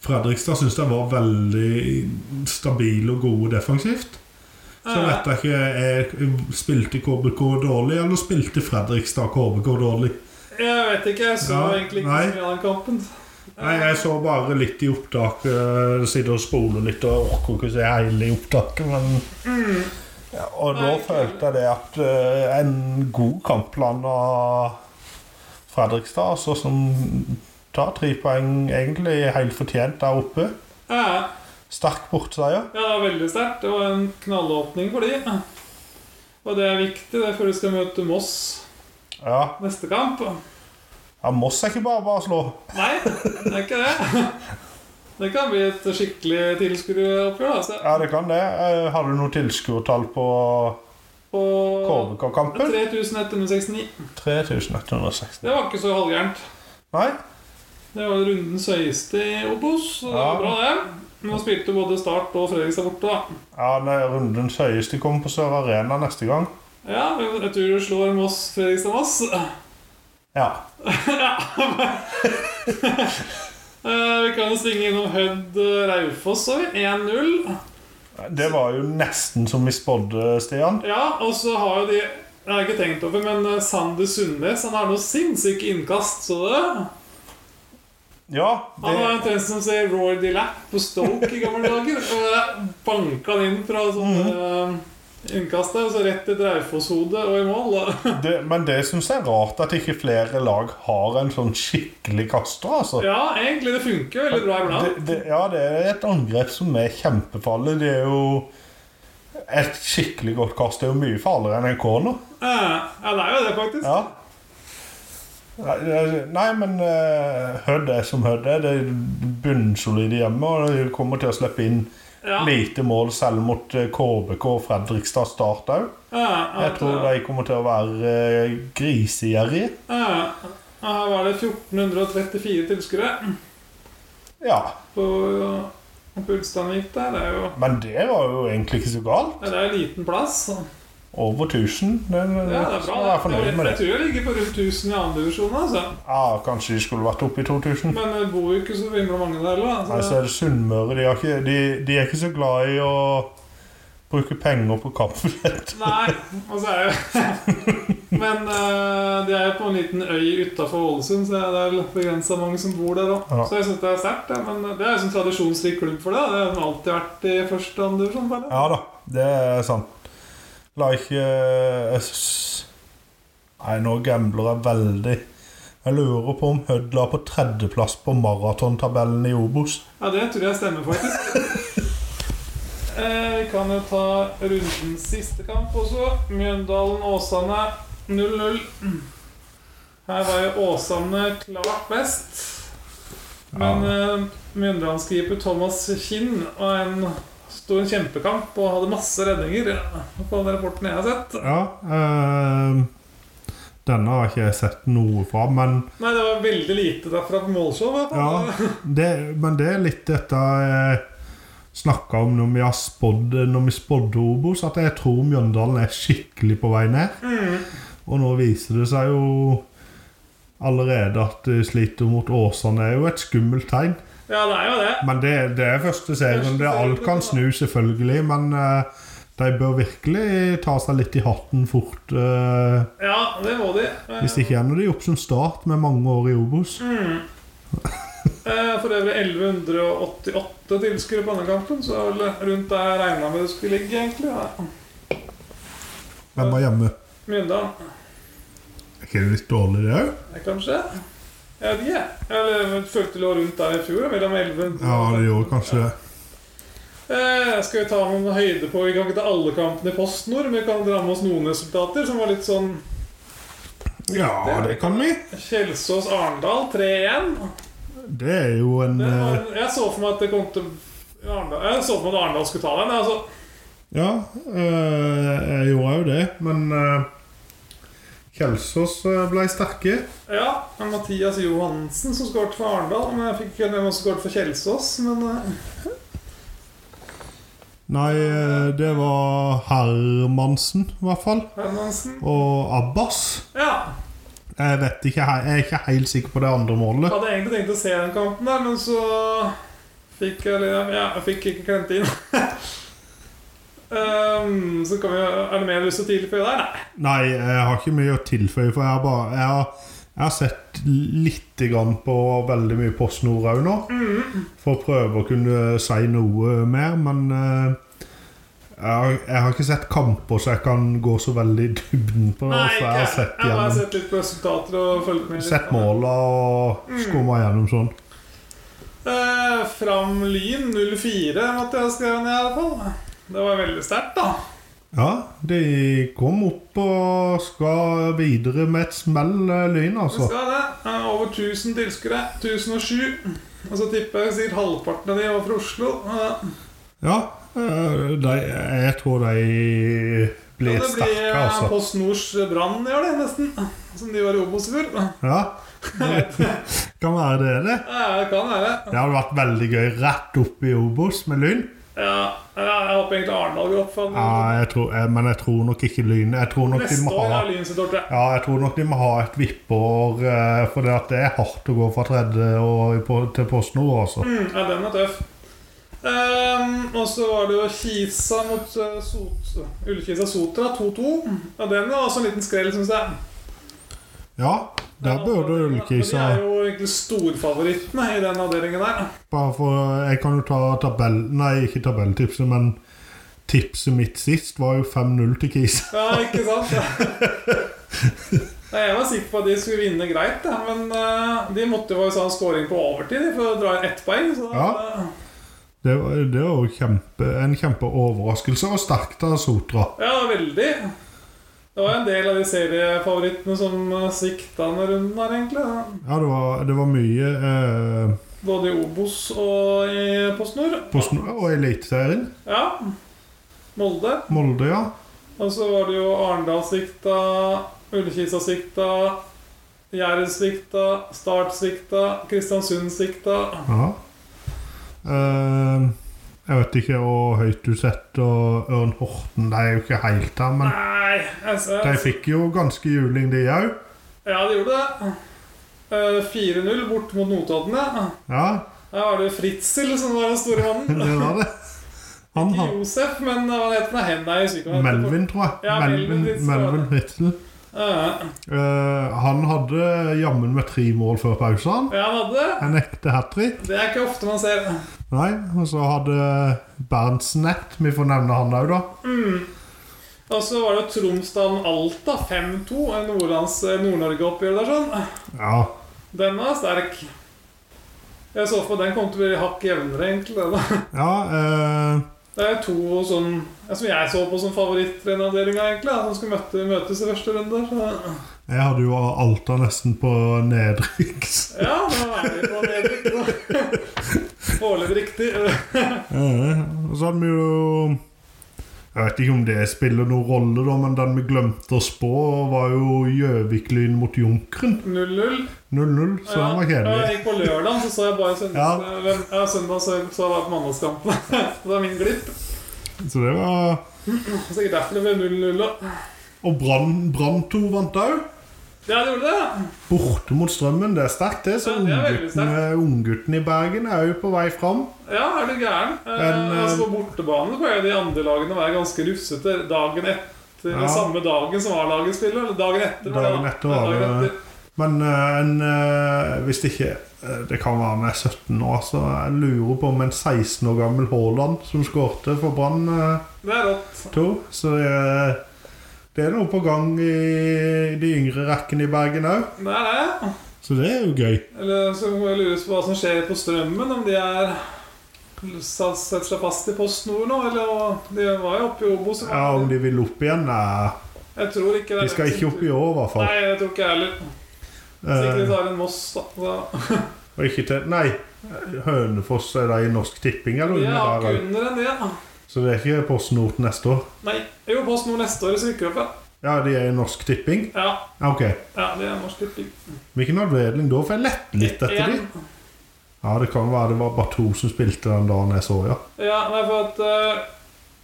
Fredrikstad syns jeg var veldig stabile og gode defensivt. Så eh, vet jeg ikke jeg Spilte KBK dårlig, eller spilte Fredrikstad KBK dårlig? Jeg vet ikke. Jeg så Ja, egentlig ikke nei. så mye av den kampen. Nei, Jeg så bare litt i opptaket. Sitter og spoler litt og orker ikke se hele i opptaket, men ja, Og da Nei, ikke følte jeg det at eh, en god kampplan av Fredrikstad, altså som tar tre poeng egentlig helt fortjent der oppe. Eh, Sterk borteseier. Ja, det var veldig sterkt. Det var en knallåpning for de. Og det er viktig, det er før de skal møte Moss Ja. neste kamp. ja, Moss er ikke bare bare å slå. Nei, det er ikke det. Det kan bli et skikkelig tilskueroppgjør. altså. da, så- Ja, det kan det. Eh, Har du noe tilskuertall på Og KVK-kampen? 3169. 3116. Det var ikke så halvgærent. Nei? Det var rundens høyeste i Obos, så det var Ja. bra, det. Men nå spilte både Start og Fredrikstad borte, da. Ja, nei, rundens høyeste kommer på Sør Arena neste gang. Ja, men jeg tror du slår Moss, Fredrikstad Moss. Ja. Eh, Vi kan jo svinge innom Hødd eh, Raufoss òg. 1-0. Det var jo nesten som vi spådde, Stian. Ja, og så har jo de Jeg har ikke tenkt over men eh, Sander Sundnes Han har noe sinnssyke innkast, så du det? Ja, Han har det, en tendens som ser Roy Dillapp på Stoke i gamle dager. Og jeg banka han inn fra Mm. sånn eh, innkast der, og så rett i Draufoss-hodet og i mål. det, men det syns jeg er rart at ikke flere lag har en sånn skikkelig kaster, altså. Ja, egentlig. Det funker jo veldig bra Det, iblant. det, ja, det er et angrep som er kjempefarlig. Det er jo et skikkelig godt kast. Det er jo mye farligere enn en corner. Eh, Ja, det er jo det, faktisk. Ja. Nei, Nei, men eh, Hødd er som Hødd er. Det er bunnsolide hjemme, og de kommer til å slippe inn Ja. Eh, lite mål selv mot eh, KBK og Fredrikstad Start òg. Eh, Jeg at, tror eh, de kommer til å være eh, grisegjerrige. eh, Her var det 1434 tilskuere Ja. på, på Ulsteinvik der. Det er jo Men det var jo egentlig ikke så galt. det er jo liten plass. Så. Over 1000. Det, Ja, det er så bra. jeg er det. fornøyd Jeg, med jeg det. tror jeg ligger på rundt 1000 i andre divisjon. Altså. Ja, Kanskje de skulle vært oppe i 2000. Men det bor jo ikke så himla mange der heller. Nei, så Altså. er det Sunnmøre. De, har ikke- de, de er ikke så glad i å bruke penger på kampbillett. Nei, altså er jo Men eh, de er jo på en liten øy utafor Ålesund, så det er begrensa mange som bor der òg. Ja. Så jeg syns det er sterkt. Ja. Men det er jo en sånn tradisjonsrik klubb for det. da. Det har den alltid vært i første og andre divisjon. bare. Ja da, det er sant. La ikke eh, s- Nei, nå gambler jeg veldig. Jeg lurer på om Hødd la på tredjeplass på maratontabellen i Obos. Ja, det tror jeg stemmer, faktisk. Eh, Vi kan jo ta rundens siste kamp også. Mjøndalen-Åsane 0-0. Her var jo Åsane klart best. Men eh, Mjøndalen-skipper Thomas Kinn var en sto en kjempekamp og hadde masse redninger. ja, På den rapporten jeg har sett. Ja, eh, denne har ikke jeg sett noe fra, men, Nei, det var veldig lite derfra på målshow. i hvert fall. ja, det, men det er litt dette jeg snakka om når vi har spådd Når vi spådde Obos, at jeg tror Mjøndalen er skikkelig på vei ned. Og nå viser det seg jo allerede at de sliter mot Åsane. Det er jo et skummelt tegn. ja, det er jo det. Men det, det er første serien. Første Det serien, alt kan det snu, selvfølgelig. Men eh, de bør virkelig ta seg litt i hatten fort. eh, Ja, det må de. Eh, hvis ikke ender de opp som Start med mange år i Obos. Mm. Eh, For øvrig 1188 tilskuere på denne kampen, så det var vel rundt der jeg regna med det skulle ligge, egentlig. Ja. Hvem var hjemme? Mjøndalen. Er ikke det litt dårlig, det òg? Eh, Kanskje? Jeg vet ikke. Jeg følte det lå rundt der i fjor, mellom 1100 Ja, det gjorde kanskje det. Eh, skal vi ta noen høyde på Vi kan ikke ta alle kampene i PostNord, men vi kan dra med oss noen resultater som var litt sånn Ja, det kan vi. Kjelsås-Arendal 3-1. Det er jo en Det eh, var- Jeg så for meg at det kom til Arendal Jeg så for meg at Arendal skulle ta den. Altså, Ja, eh, jeg gjorde òg det, men eh, Kjelsås eh, ble sterke. ja, men Mathias Johansen som skåret for Arendal. Men jeg fikk ikke hvem som skåret for Kjelsås. Men eh, Nei, eh, det var Hermansen, i hvert fall. Hermansen Og Abbas. Ja. Jeg vet ikke, he- jeg er ikke helt sikker på det andre målet. Hadde egentlig tenkt å se den kampen der, men så fikk jeg litt Ja, jeg fikk ikke klemt inn. Ehm, så kan vi, er det mer lyst til å tilføye der? Nei. Nei, jeg har ikke mye å tilføye, for jeg har bare Jeg har, jeg har sett lite grann på veldig mye Post Nord òg nå. Mm. For å prøve å kunne si noe mer, men eh, jeg har, jeg har ikke sett kamper, så jeg kan gå så veldig i dybden på det. Nei, så jeg ikke. har jeg. sett, jeg har bare gjennom, sett litt på resultater og fulgt med. litt. sett måla og Mm. skumma gjennom sånn. Eh, fram Lyn 04 måtte jeg skrive ned, i alle fall. Det var veldig sterkt, da. Ja, de kom opp og skal videre med et smell, eh, Lyn, Vi altså. skal det. Eh, Over 1000 tilskuere. 1007. Og så tipper jeg sikkert halvparten av de var fra Oslo. Eh, Ja, eh, de, jeg tror de ja, blir det blir sterke, eh, altså. Post Nords Brann i år, det, nesten. Som de var i Obos i fjor. Ja, Eh, kan være det, det. Det kan være. Det hadde vært veldig gøy rett opp i Obos med Lyn. Ja, ja, jeg håper egentlig Arendal går opp. For Ja, jeg tror, eh, men jeg tror nok ikke Lyn. Jeg tror nok de neste må år ha er Lyn sitt år, tror jeg. ja, jeg tror nok de må ha et vippeår, eh, for det, at det er hardt å gå fra tredje og på- til PostNord. Altså. Mm, ja, den er tøff. Ehm, og så var det jo Kisa mot eh, Sot, Ullkisa Sotra 2-2. Ja, den var også en liten skrell, syns jeg. Ja, der burde De er Ullkisa jo egentlig storfavorittene i den avdelingen der. Bare for Jeg kan jo ta tabell... Nei, ikke tabelltipset, men tipset mitt sist var jo 5-0 til Kisa. Ja, ikke sant? Nei, jeg var sikker på at de skulle vinne greit, ja, men eh, de måtte jo ha en scoring på overtid for å dra inn ett poeng. Så eh, da, Ja. Det var det var jo kjempe, en kjempeoverraskelse, og sterkt av Sotra. ja, veldig. Det var en del av de seriefavorittene som eh, svikta denne runden her, egentlig. Ja. Ja, det var, det var mye eh, Både i Obos og i PostNord. PostNord og Eliteserien. Ja. Molde. Molde, ja. Og så var det jo Arendal svikta, Ullkisa svikta, Jæren svikta, Start svikta, Kristiansund svikta. Ja. Eh, jeg vet ikke hvor høyt du setter og Ørn Horten. De er jo ikke helt der, men Nei jeg ser- de fikk jo ganske juling, de òg. Ja, de gjorde det. Eh, 4-0 bort mot Notodden, ja. Ja, Her var det jo Fritzel som var den store mannen. det var det. Han Ikke har Josef, men eh, hva heter han? Henna i psykoanalysen. Melvin, tror jeg. Ja, Melvin, Melvin Fritzel. Melvin Fritzel. Ja, Eh, han hadde jammen med tre mål før pausen. Ja, han hadde det. En ekte hat trick. Det er ikke ofte man ser. Nei, og så hadde Berntsen-nett. Vi får nevne han òg, da. Og så var det jo Tromsdalen Alta 5-2. en Nordlands- eh, Nord-Norge-oppgjør der, sånn. Ja, Den var sterk. Jeg så for meg den kom til å bli hakk jevnere, egentlig. den da. ja eh, Det er to sånn, ja, som jeg så på som favoritter i den avdelinga, egentlig. da, Som skulle møte, møtes i første runde. Så. Jeg hadde jo Alta nesten på nedrykks. Ja, det var ærlig på det. Foreløpig riktig. Eh, Og så hadde vi jo Jeg vet ikke om det spiller noen rolle, da, men den vi glemte å spå, var jo Gjøvik-Lyn mot Junkeren. 0-0. 0-0, så Ja, den var Jeg kjedelig. gikk på lørdag, så så jeg bare søndag. Ja, søndag så så jeg bare på mandagskampen. Det var min glipp. Så det var Sikkert derfor det ble 0-0. da. Og Brann Brann 2 vant òg. Ja, det gjorde det. Borte mot Strømmen. Det er sterkt, det. Så Ja, det er veldig ungguttene unggutten i Bergen er jo på vei fram. Ja, er du gæren? Men, Eh, altså på bortebane pleier de andre lagene å være ganske rufsete dagen etter eh, Ja. samme dagen som A-laget spiller. Eller dagen etter. var det, Dagen da. etter Ja, var dagen det- etter. Men eh, en, eh, hvis det ikke eh, Det kan være med 17 år, så jeg lurer på om en 16 år gammel Haaland som skårte for Brann eh, Det er rått. to. Så det er, det er noe på gang i de yngre rekkene i Bergen òg. Det er det. Så det er jo gøy. Eller så kan jeg lures på hva som skjer på strømmen, om de er sa- setter seg fast i Post Nord nå, eller hva- De var jo oppe i Obos. Ja, Om de vil opp igjen? Nei, Jeg tror ikke det er de skal ikke opp i år, i hvert fall. Nei, jeg tror ikke jeg heller. Hvis ikke de Eh, tar en Moss, da. Så. og ikke til Nei, Hønefoss er da i Norsk Tipping eller De under er der? hakket vel? under enn det. da. Så det er ikke Post Nord neste år? Nei. Jo, Post Nord neste år så rykker de opp, Ja, de er i Norsk Tipping? ja. Ja, Ja, Ok. ja de er norsk tipping. Hvilken anledning da? For jeg lette litt etter de. En- Ja, det kan være det var bare to som spilte den dagen jeg så, ja. Ja, nei, for at eh,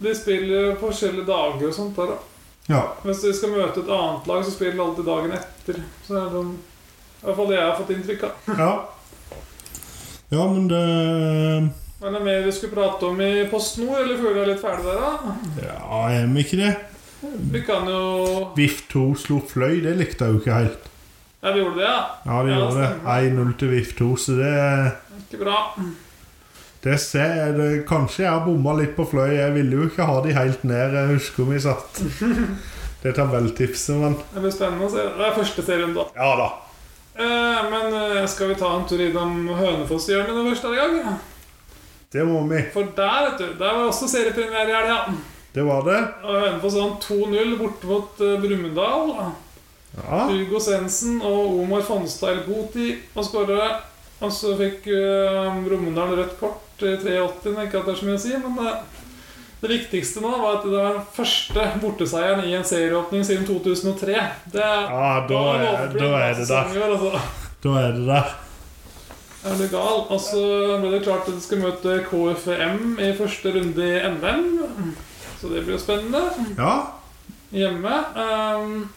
de spiller jo forskjellige dager og sånt der, da. Ja, Hvis de skal møte et annet lag, så spiller de alltid dagen etter. Så er det sånn I hvert fall det jeg har fått inntrykk av. ja. ja men det Men det er mer vi skulle prate om i Post Nord, eller føler jeg litt ferdig der, da? Ja, er vi ikke det? Vi kan jo VIF2 slo Fløy, det likte jeg jo ikke helt. Ja, vi gjorde det, ja. Ja, de Ja, gjorde det. stemmer. 1-0 til VIF2, så det Ikke bra. det ser jeg det, Kanskje jeg har bomma litt på Fløy. Jeg ville jo ikke ha de helt ned. Jeg husker vi satt Det tabelltipset, men Det blir spennende å se. Det er første serien, da. Ja da. Eh, men eh, skal vi ta en tur innom Hønefoss-hjørnet den første gang? Det må vi. For der, vet du, der var også seriepremiere i helga. Det var det. Og Hønefoss vant 2-0 borte mot eh, Brumunddal. Ja. Hugo Sensen og Omar Fonstad El Goti og skårere. Og så fikk uh, Brumunddal rødt kort i 83. Ikke at det er så mye å si, men eh, det viktigste nå var at det var den første borteseieren i en serieåpning siden 2003. Det er Ja, da er, da er det der. Altså. Da er det der. Er du gal? Og så ble det klart at de skal møte KFM i første runde i NM. Så det blir jo spennende. Ja. Hjemme. ehm,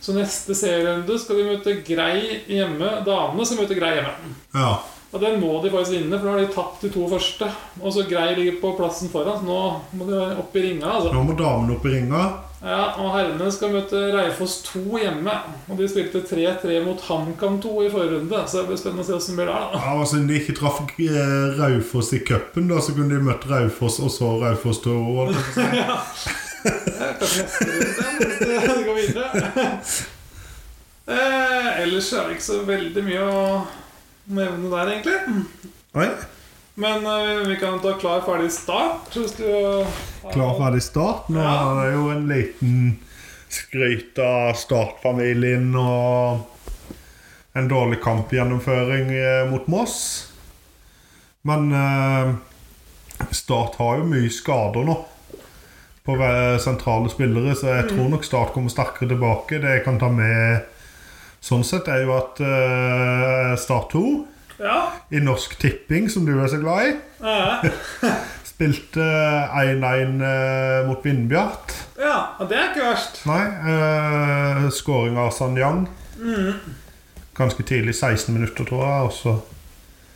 så neste serierunde skal de møte Grei hjemme. Damene skal møte Grei hjemme. Ja. Og den må de faktisk vinne, for nå har de tapt de to første. Og så Grei ligger på plassen foran, så nå må de opp i ringa. Altså. Nå må damene opp i ringa. Ja, og herrene skal møte Reifoss 2 hjemme. Og de spilte 3-3 mot HamKam 2 i forrige runde, så det blir spennende å se åssen det blir der. da. Ja, og Siden de ikke traff eh, Raufoss i cupen, da, så kunne de møtt Raufoss og så Raufoss to år. Kanskje neste runde, hvis det går videre. Eh, ellers er det ikke så veldig mye å nevne der, egentlig. Nei, Men eh, vi kan ta klar, ferdig, start. Hvis du eh, har klar, ferdig, start. Nå Ja. er det jo en liten skryt av startfamilien og en dårlig kampgjennomføring eh, mot Moss. Men eh, Start har jo mye skader nå på hver- sentrale spillere, så jeg tror nok Start kommer sterkere tilbake. Det jeg kan ta med sånn sett, er jo at eh, Start 2 Ja. i Norsk Tipping, som du er så glad i, Eh, spilte 1-1 eh, mot Vindbjart. ja, og det er ikke verst. Nei. Eh, Skåring av Sanyang. Mm. Ganske tidlig, 16 minutter, tror jeg. Også.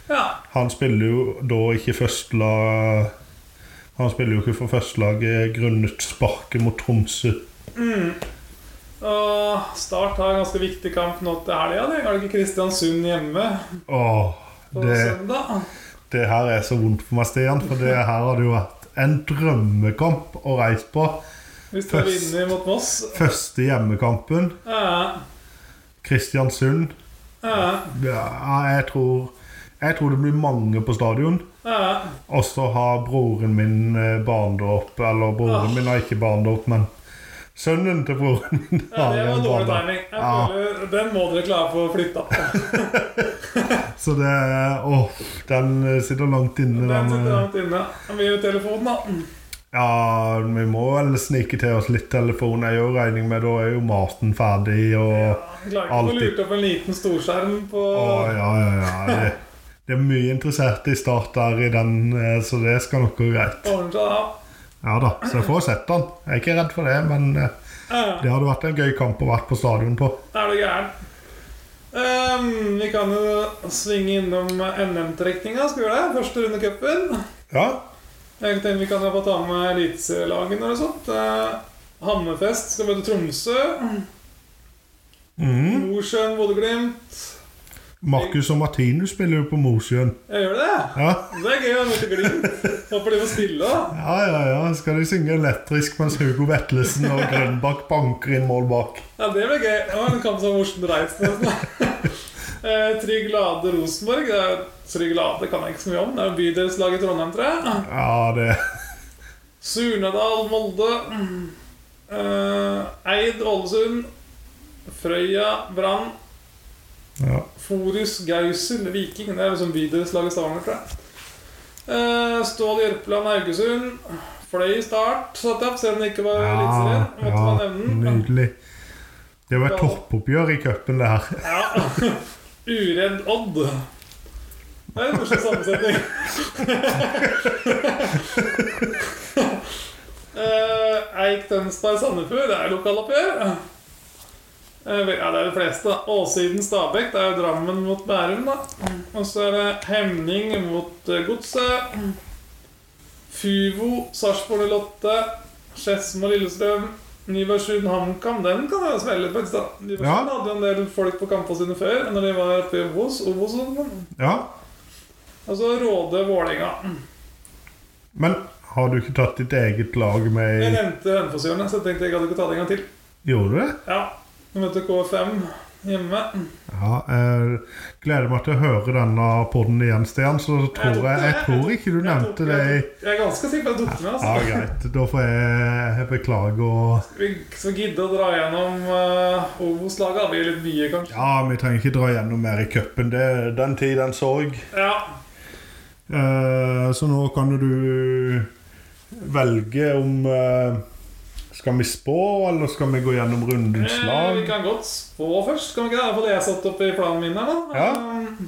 Ja. Han spiller jo da ikke førstelag Han spiller jo ikke for førstelaget grunnet sparket mot Tromsø. Og Start har en ganske viktig kamp nå til helga. Det er ikke Kristiansund hjemme Åh, på det, søndag. det her er så vondt for meg, Stian, for det her hadde jo vært en drømmekamp å reise på. Hvis de først. vinner mot Moss. Første hjemmekampen, Eh, Kristiansund. eh, Ja, jeg tror, jeg tror det blir mange på stadion. eh. Og så har broren min eh, barndåp, eller broren Ah. min har ikke barndåp, men sønnen til broren min Ja, har det var en dårlig barndåp. timing. Jeg Ja. føler, den må dere klare for å flytte på. Så det Åh, den eh, sitter langt inne, Den den. sitter eh. langt inne. Vi gir telefonen, da. Ja, vi må vel snike til oss litt telefon. Jeg gjør regning med da er jo maten ferdig, og Jeg Klarer ikke å få Alltid. lurt opp en liten storskjerm på Å, ja, ja, ja. Det, det er mye interessert i start der i den, eh, så det skal nok gå greit. ordne seg da. Ja da, så jeg får sett den. Jeg er ikke redd for det, men eh, Eh, det hadde vært en gøy kamp å være på stadion på. Er du gæren? Ehm, vi kan jo svinge innom NM-trekninga. Skal vi gjøre det? Første runde i cupen. Ja, Jeg tenkte Vi kan jo få ta med eliteserielagene og sånt. Eh, Hammerfest skal møte Tromsø. Mhm. Mosjøen, Bodø-Glimt. Marcus og Martinus spiller jo på Mosjøen. Jeg gjør det. Ja. Det er gøy. Jeg møter Glimt. Håper de får spille. da. ja, ja, ja. Skal de synge elektrisk mens Hugo Vetlesen og Grønbakk banker inn mål bak? Ja, det blir gøy. Det var en kamp som Morten Reitz nesten. Eh, Trygg Lade Rosenborg. Det er, Trygg Lade kan jeg ikke så mye om. Det er jo bydelslag i Trondheim, tror jeg. Ja, det Surnadal, Molde. Eh, Eid, Ålesund. Frøya, Brann. ja. Forus, Gausel, Viking. Det er liksom bydelslag i Stavanger, tror jeg. Eh, Stål, Jørpeland, Haugesund. Fløy i start, satt jeg opp, selv om det ikke var Ja, eliteserien. Måtte ja, man nevne den. Nydelig. Det var et toppoppgjør i cupen, det her. Ja. Uredd Odd. Det er en morsom sammensetning. Eh, Eik Tønsberg Sandefjord, det er lokaloppgjør. Eh, vel, Ja, det er de fleste. da. Åsiden Stabæk, det er jo Drammen mot Bærum, da. Og så er det Hemning mot eh, Godset. Fuvo, Sarpsborg Lotte, Skedsmo Lillestrøm. Nybergsund HamKam, den kan jeg smelle på. Ja. Nybergsund hadde jo en del folk på kampene sine før, når de var oppe i Obos. Obos og sånn. Ja. Og så Råde Vålerenga. Men har du ikke tatt ditt eget lag med Jeg i nevnte Hønefoss-hjørnet, så jeg tenkte jeg hadde ikke ta det en gang til. Gjorde du det? Ja, Nå møter K5 hjemme. Ja, jeg gleder meg til å høre denne podden igjen, Stian. Så tror jeg, jeg tror ikke du nevnte det i Jeg, tok- jeg er ganske sikker på at jeg tok det med. Ja, Altså. greit. Da får jeg, jeg beklage og Vi skal gidde å dra gjennom uh, Obos-laget. Det blir litt mye, kanskje. Ja, vi trenger ikke dra gjennom mer i cupen. Det- Den tid, den sorg. Ja, Eh, så nå kan jo du velge om eh, Skal vi spå, eller skal vi gå gjennom rundens eh, Vi lag? kan godt spå først. Kan vi ikke det? Det er for det jeg satte opp i planen min her, da. Ja. Um,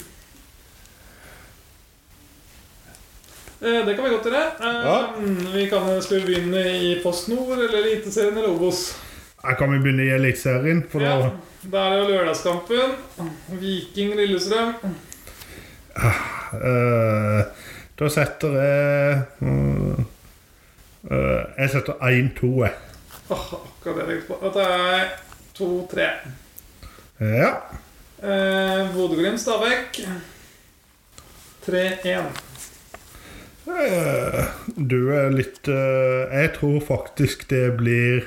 eh, Det kan vi godt gjøre. Eh, Ja. Vi kan skulle begynne i Post Nord eller Eliteserien eller Obos. Her kan vi begynne i Eliteserien, for Ja, da da er det jo lørdagskampen. Viking-Lillestrøm. eh, Da setter jeg mm, eh, Jeg setter eh. 1-2, jeg. Åh, akkurat det jeg tenkte på. Dette er 2-3. Ja. Eh, Bodø-Glimt, Stabæk. 3-1. Eh, Du er litt eh, Jeg tror faktisk det blir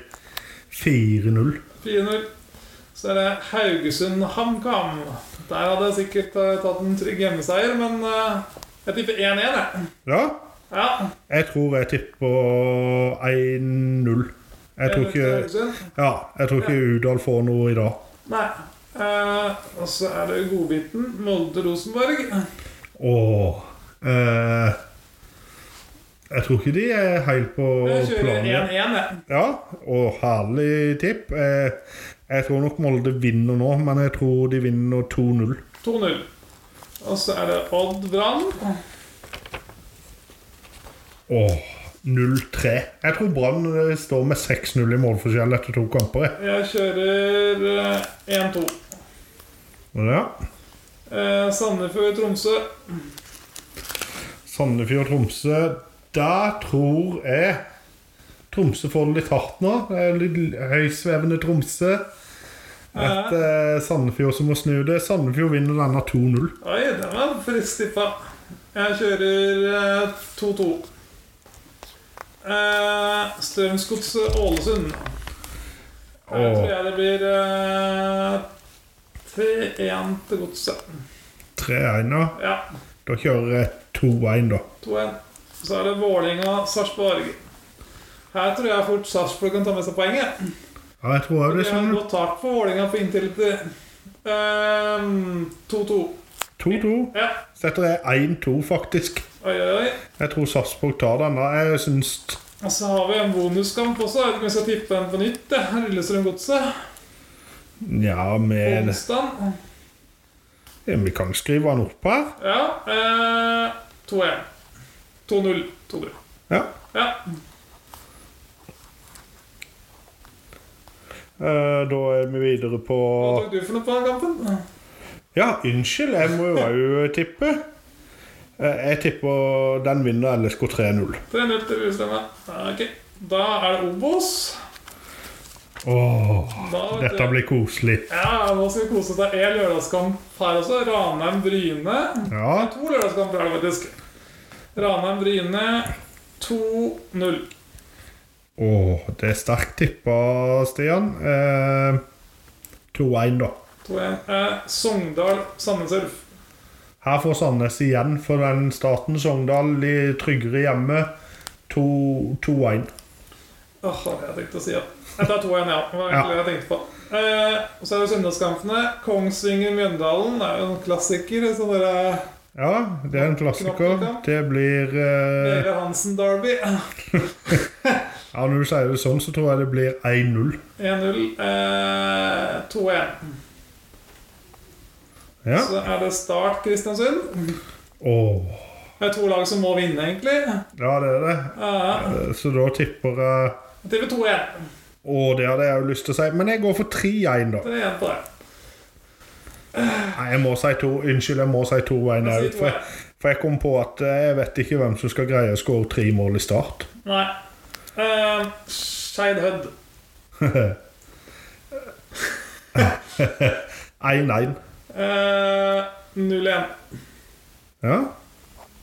4-0. 4-0. Så er det Haugesund-HamKam. Der hadde jeg sikkert eh, tatt en trygg hjemmeseier, men eh, jeg tipper 1-1, jeg. Ja. Ja. Jeg tror jeg tipper på 1-0. Jeg tror ikke Haugesund. Ja, jeg tror ikke Udal får noe i dag. Nei. Eh, og så er det godbiten. Molde-Rosenborg. Åh eh, Jeg tror ikke de er helt på Jeg kjører planen. 1-1, jeg. Ja, og herlig tipp. Eh, jeg tror nok Molde vinner nå, men jeg tror de vinner 2-0. 2-0. Og så er det Odd Brann. Åh, 0-3. Jeg tror Brann eh, står med 6-0 i målforskjell etter to kamper. jeg. Jeg kjører eh, 1-2. Ja. Eh, Sandefjord-Tromsø. Sandefjord-Tromsø. Der tror jeg Tromsø får det litt hardt nå. Det er litt høysvevende Tromsø. Et eh, Sandefjord som må snu det. Sandefjord vinner denne 2-0. Oi, den var friskt tippa. Jeg kjører eh, 2-2. Eh, Strømsgods-Ålesund. Her Åh. tror jeg det blir eh, 3-1 til Godset. 3-1, ja. Ja, Da kjører jeg 2-1, da. 2-1. Så er det Vålinga-Sarpsborg. Her tror jeg fort Sarpsborg kan ta med seg poenget. Ja, jeg tror også Vi det. har Sånn. godt tak på Vålinga på inntil ehm, 2-2. 2-2. Ja. Setter jeg 1-2, faktisk. Oi, oi, oi. Jeg tror Sarpsborg tar denne. Jeg syns Og så har vi en bonuskamp også. Jeg vet ikke om vi skal tippe den på nytt. det. Lillestrøm Godset. Nja, med Onsdag. Ja, Vi kan skrive den opp her. Ja. Eh, 2-1. 2-0. 2-0. Ja. Ja. Eh, Da er vi videre på Hva tok du for noe på den kampen? Ja, unnskyld, jeg må jo òg tippe. Eh, Jeg tipper den vinner LSK 3-0. 3-0 til Lillestrøm. ja. Ja, Ok. Da er det Obos. Åh, Da, vet dette du- blir koselig. Ja, nå skal vi kose oss. Det er lørdagskamp her også. Ranheim-Bryne. Ja, To lørdagskamper er det faktisk. Ranheim-Bryne 2-0. åh, det er sterkt tippa, Stian. Eh, 2-1, da. 2-1. Eh, Sogndal-Sandnesurf. Her får Sandnes igjen for den starten. Sogndal de tryggere hjemme. 2-1. Åh, hva hadde jeg tenkt å si, ja. Jeg tar 2-1, ja. Det var egentlig det jeg tenkte på. Eh, og så er det søndagskampene. Kongsvinger-Mjøndalen det er jo en klassiker. Sånn der, Ja, det er en klassiker. Det blir eh, Mere Hansen-derby. Ja, når du sier det sånn, så tror jeg det blir 1-0. 1-0. Eh, 2-1. Ja. Så er det Start Kristiansund. Åh. Det er to lag som må vinne, egentlig. Ja, det er det. Ja, Eh, Så da tipper jeg TV 2 igjen. Å, det hadde jeg jo lyst til å si, men jeg går for 3-1, da. Det er igjen på det. Nei, jeg må si 2. Unnskyld, jeg må si 2-1 Jeg òg. sier For, jeg- for jeg kom på at eh, jeg vet ikke hvem som skal greie å skåre tre mål i start. Nei. Uh, Skeid Hødd. 1-1. Eh, 0-1. Ja.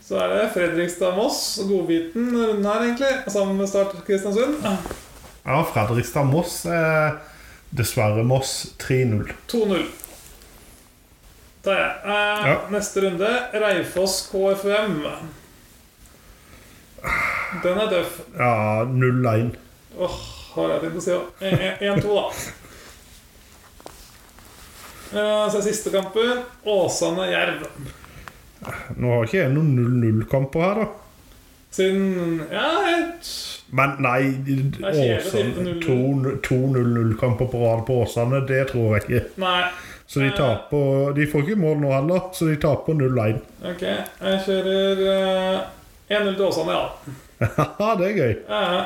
Så er det Fredrikstad-Moss. Godbiten runden her, egentlig. Sammen med Start Kristiansund. ja Fredrikstad-Moss. Eh, dessverre Moss 3-0. 2-0. Der, ja. Eh, Ja. Neste runde. Reifoss KFUM. Den er tøff. Ja, 0-1. Åh, har jeg tenkt å si òg. 1-2, da. Eh, så er siste kampen Åsane-Jerv. Nå har ikke jeg noen 0-0-kamper her, da. Siden Ja, helt Men nei, er kjedelig å tippe Åsane 0-0. to- to 0-0-kamper på rad på Åsane, det tror jeg ikke. Nei. Så de taper De får ikke mål nå heller, så de taper 0-1. Ok, jeg kjører eh, 1-0 til Åsane, ja. Haha, det er gøy. Eh,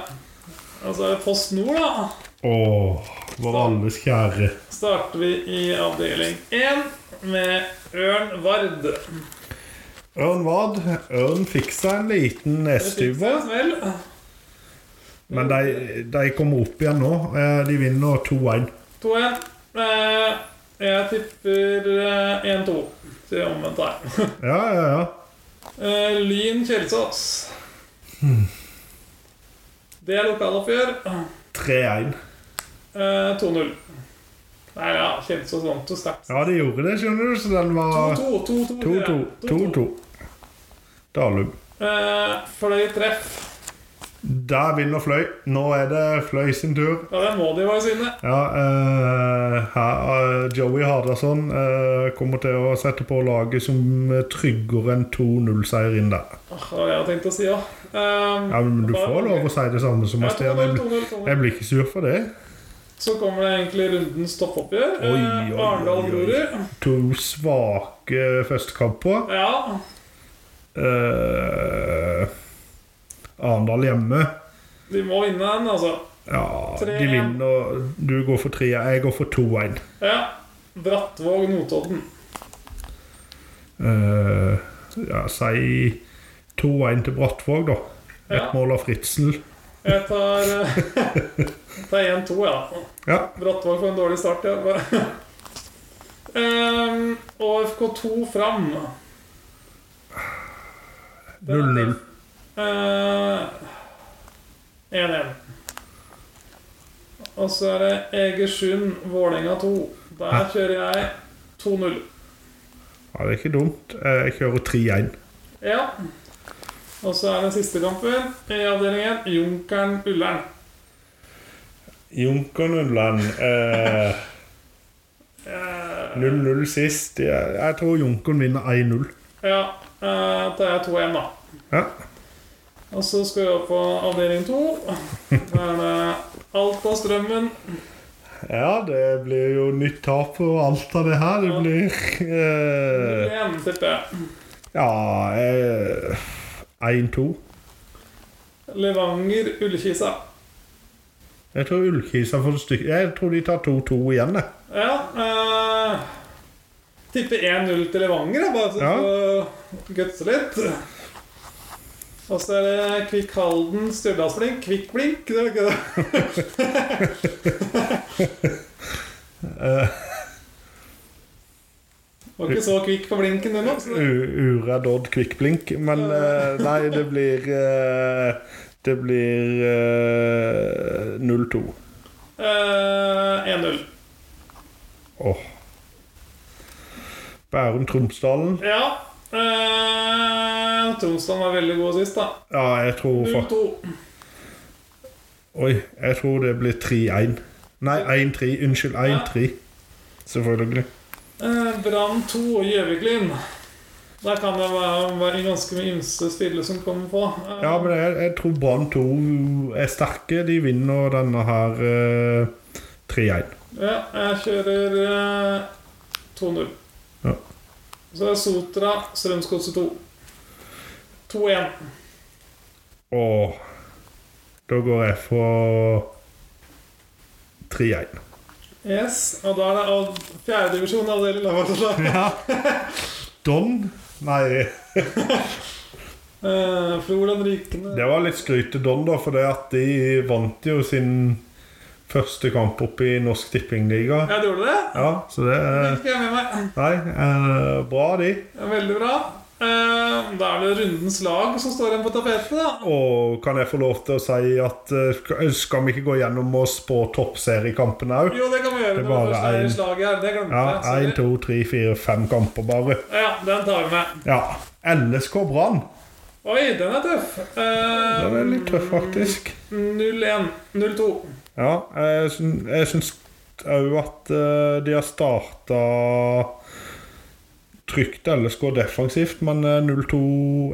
og så er det Post Nord, da. Åh, vår alles kjære. Starter vi i avdeling 1 med Ørn Vard. Ørn Vard. Ørn fikk seg en liten Styve. nestyver, men de, de kommer opp igjen nå. Eh, De vinner 2-1. 2-1. Eh, jeg tipper eh, 1-2. Så jeg omvendt her. Ja, ja, ja. Eh, Lyn Kjelsås. Det er lokaloppgjør. 3-1. Eh, 2-0. Nei, ja, Kjelsås vant jo sterkt. Ja, de gjorde det, skjønner du, så den var 2-2. 2-2. 2-2. Dalum. Eh, Fløy treff. Der vinner Fløy. Nå er det Fløy sin tur. Ja, det må de være sine. Ja, eh, her, eh, Joey Hardasson eh, kommer til å sette på laget som eh, trygger en 2-0-seier inn der. Åh, det var det jeg hadde tenkt å si Ehm, òg. Ja, men Du får lov å si det samme som oss. Stian. Jeg, blir- jeg blir ikke sur for det. Så kommer det egentlig rundens toppoppgjør. Oi, Eh, oi, oi, oi. Arendal-Grorud. To svake eh, førstekamper. Ja. Eh, Arendal hjemme. De må vinne den, altså. Ja, Tre- de vinner. Du går for 3, jeg går for 2-1. Ja. Brattvåg-Notodden. Eh, ja, si 2-1 til Brattvåg, da. Et Ja. mål av Fritzel. Jeg tar eh, jeg tar 1-2, ja. Ja. Brattvåg får en dårlig start, ja. Ehm, Og FK2 fram. 0-0. Eh, 1-1. Og så er det Egersund-Vålerenga 2. Der kjører jeg 2-0. Ja, det er ikke dumt. Eh, Jeg kjører 3-1. Ja. Og så er det siste kampen i avdelingen. Junkeren-Ullern. Junkeren Undland. eh, Eh, 0-0 sist. Jeg jeg tror Junkeren vinner 1-0. Ja, eh, da er jeg 2-1, da. Ja. Og så skal vi opp på avdeling 2. Der er det Alta-Strømmen. ja, det blir jo nytt tap og alt av det her. Det Ja. blir eh, 1, tipper jeg. Ja eh, 1-2. Levanger-Ullkisa. Jeg tror Ullkisa får stykke Jeg tror de tar 2-2 igjen, jeg. Ja eh, Tipper 1-0 til Levanger, da, bare så Ja. ja. gutse litt. Og så er det Kvikk Halden Stjørdalsblink. Kvikk Blink, det er ikke det? Var ikke så kvikk på blinken ennå. så det- U- Uredd Odd kvikkblink, men eh, nei, det blir eh, Det blir eh, 0-2. Eh, 1-0. Åh. Bærum Tromsdalen. Ja. Eh, Tromsdalen var veldig god sist, da. Ja, jeg tror fa- 0-2. Oi, jeg tror det blir 3-1. Nei, 1-3. Unnskyld, 1-3. Selvfølgelig. Eh, Brann 2 og Gjøviklyn. Der kan det være, være ganske mye ymse spillere som kommer på. Eh, Ja, men jeg, jeg tror Brann 2 er sterke. De vinner denne her eh, 3-1. ja, jeg kjører eh, 2-0. Ja. Så er det Sotra, Strømsgodset 2. 2-1. Og da går jeg for 3-1. Yes, og da er det av fjerdedivisjon avdeling Lavardslag. Ja. Don? Nei, Eh, Froland Rykende det var litt skryt til Don, da, for det at de vant jo sin første kamp oppe i Norsk Tippingliga. Ja, du gjorde det? Ja, så det Det er fikk jeg med meg. Nei, eh, bra, de. Ja, Veldig bra. Eh, da er det rundens lag som står igjen på tapetet, da. Og kan jeg få lov til å si at eh, skal- skal vi ikke gå gjennom og spå toppseriekampene òg? Jo, det kan vi gjøre. Det er når bare vi først er i en- slaget her. Det glemte Ja, jeg. så én, det- to, tre, fire, fem kamper bare. Ja, den tar vi med. Ja. LSK Brann. Oi, den er tøff. Eh, Den er litt tøff, faktisk. 0-1. 0-2. Ja, jeg, syn- jeg syns òg at eh, de har starta trygt LSK defensivt, men eh, 0-2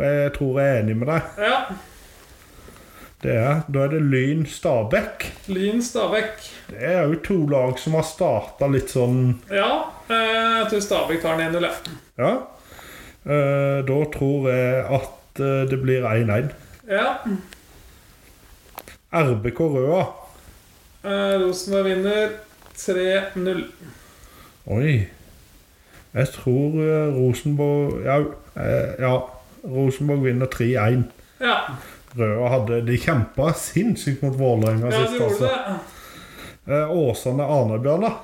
Jeg tror jeg er enig med deg. Ja. Det er, da er det Lyn Stabæk. Lyn Stabæk. Det er òg to lag som har starta litt sånn Ja, eh, jeg tror Stabæk tar den 1-0. ja. Ja. Eh, da tror jeg at eh, det blir 1-1. Ja. RBK Røa. Eh, Rosenborg vinner 3-0. Oi. Jeg tror eh, Rosenborg Ja. eh, ja. Rosenborg vinner 3-1. Ja, Røa hadde De kjempa sinnssykt mot Vålerenga ja du sist, gjorde altså. det. Eh, Åsane Arnebjørnar.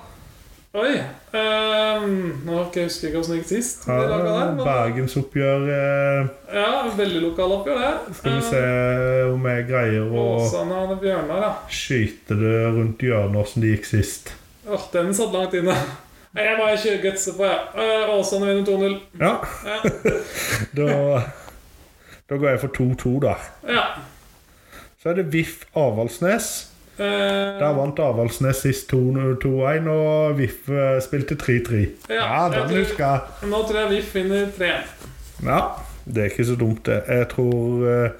Oi. ehm, nå husker jeg husker ikke hvordan det gikk sist. med det laget der, Eh, men, Bergensoppgjør eh, ja, Veldig lokaloppgjør, det. Skal vi Eh, se om jeg greier å Åsane og Bjørnar, ja. skyte det rundt hjørnet åssen det gikk sist. Åh, den satt langt inne. Nei, Jeg bare kjører gutse på, jeg. Eh, Åsane vinner 2-0. Ja, Ja. da Da går jeg for 2-2 der. ja. Så er det VIF Avaldsnes. Eh, Der vant Avaldsnes sist 2-1, og VIF eh, spilte 3-3. Ja, Ja, jeg den tror- husker jeg. nå tror jeg VIF vinner 3-1. Ja, det er ikke så dumt, det. Jeg tror eh,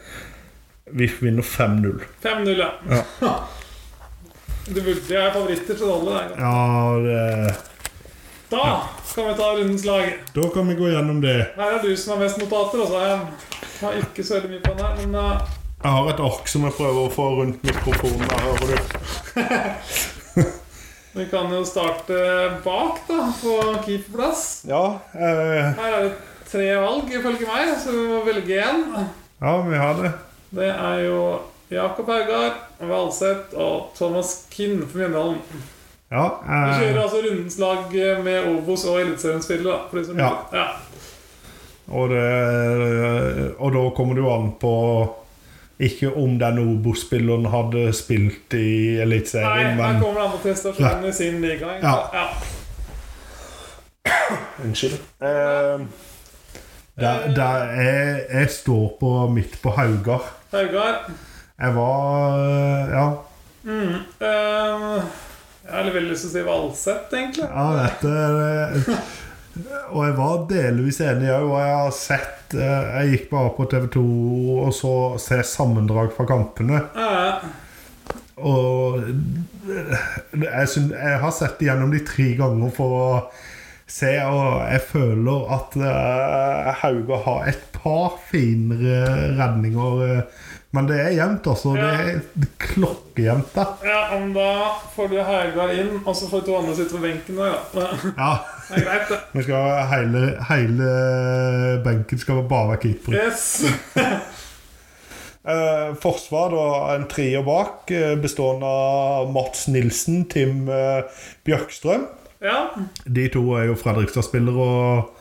VIF vinner 5-0. 5-0, ja. Du burde jeg er favoritter til alle. Der. Ja, det... Da kan vi ta rundens lag. Da kan vi gå gjennom det. Her er du som har mest notater. Altså. Jeg har ikke så veldig mye på den her, men eh, Jeg har et ark som jeg prøver å få rundt mikrofonen. her, hører du? vi kan jo starte bak, da, på keeperplass. Ja, eh, Her er det tre valg, ifølge meg, så vi må velge én. ja, vi har det. Det er jo Jakob Haugar, Valseth og Thomas Kinn fra Mjøndalen. Ja, Vi kjører eh, altså rundens lag med Obos og Eliteserienspillere. da, for de som- Ja. og, det, og da kommer det jo an på ikke om den Obos-spilleren hadde spilt i Nei, Eliteserien, her men kommer det an på prestasjonen i sin liga. ikke sant? Ja. Unnskyld. Eh, der, der jeg, jeg står på midt på Haugar. Haugar. Jeg var eh, Ja, Mm. eh, jeg har veldig lyst til å si Valseth, egentlig. Ja, dette er det. eh, Og jeg var delvis enig òg, og jeg har sett eh, Jeg gikk bare på TV2 og så se sammendrag fra kampene. Eh, Og eh, jeg, syn- jeg har sett det gjennom de tre ganger for å se, og jeg føler at eh, Hauge har et par finere redninger. eh, Men det er jevnt, altså. Det er klokkejevnt. da. ja, men da får du Haugar inn, og så får de to andre sitte på benken. der, Da. Ja. Det er greit, det. Vi skal ha hele, hele benken skal bare være keepere. Yes. Eh, forsvar, da, en trio bak, eh, bestående av Mats Nilsen, Tim eh, Bjørkstrøm. Ja. De to er jo Fredrikstad-spillere, og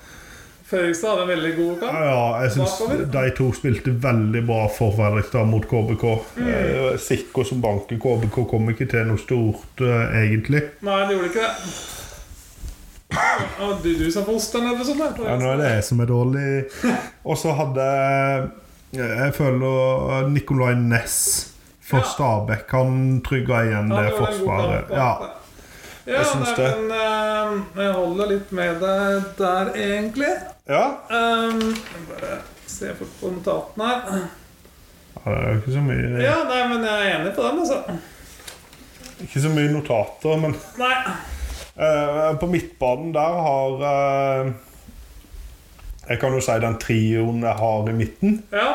Fredrikstad hadde en veldig god kamp. ja, jeg syns Bakover. de to spilte veldig bra for Fredrikstad mot KBK. Eh, Sikker som banker KBK kom ikke til noe stort, eh, egentlig. Nei, det gjorde ikke det. Ja, du, du som får ost denne episoden. Ja, her, nå Fredrikstad. er det jeg som er dårlig. Og så hadde eh, jeg jeg føler Nicolay Næss for Ja. Stabæk. Han trygga igjen Ja, det det var en god forsvaret. kamp, Ja. da. Ja, Jeg syns nei, det. men eh, jeg holder litt med deg der, egentlig. ja. Um, jeg bare se fort på notatene her. Ja, Det er jo ikke så mye Ja, nei, men jeg er enig på den, altså. Ikke så mye notater, men Nei. eh, på midtbanen der har eh, Jeg kan jo si den trioen jeg har i midten. Ja.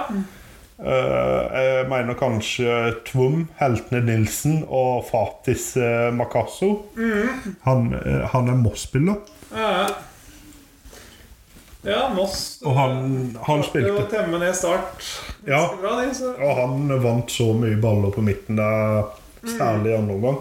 Eh, jeg mener kanskje Tvum, Heltene Nilsen og Fatis eh, Makasso. Mm. Han, eh, han er Moss-spiller. eh, ja, Moss Og han, han Det spilte var temme ned start. Ja, Ganske Bra, de, så. og han vant så mye baller på midten der, særlig i Mm. andre omgang.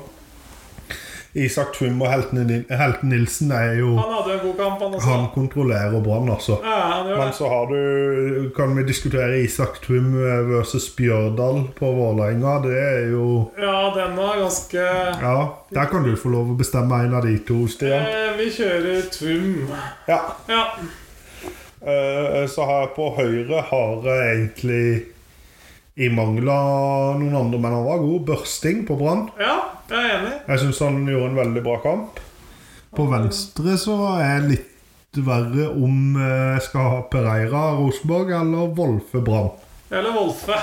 Isak Tvum og Helten, Nil- Helten Nilsen er jo Han hadde jo en god kamp, han også. Han kontrollerer Brann, altså. Ja, han gjør Men det. så har du Kan vi diskutere Isak Tvum versus Bjørdal på Vålerenga? Det er jo Ja, den var ganske Ja, der kan du få lov å bestemme en av de to, Stian. eh, Vi kjører Tvum. Ja. Ja. Eh, Så har jeg på høyre har jeg egentlig I mangel av noen andre, men han var god. Børsting på Brann. ja, jeg er enig. Jeg syns han gjorde en veldig bra kamp. På venstre så er jeg litt verre om eh, jeg skal ha Pereira Rosenborg eller Wolfe Brann. Eller Wolfe.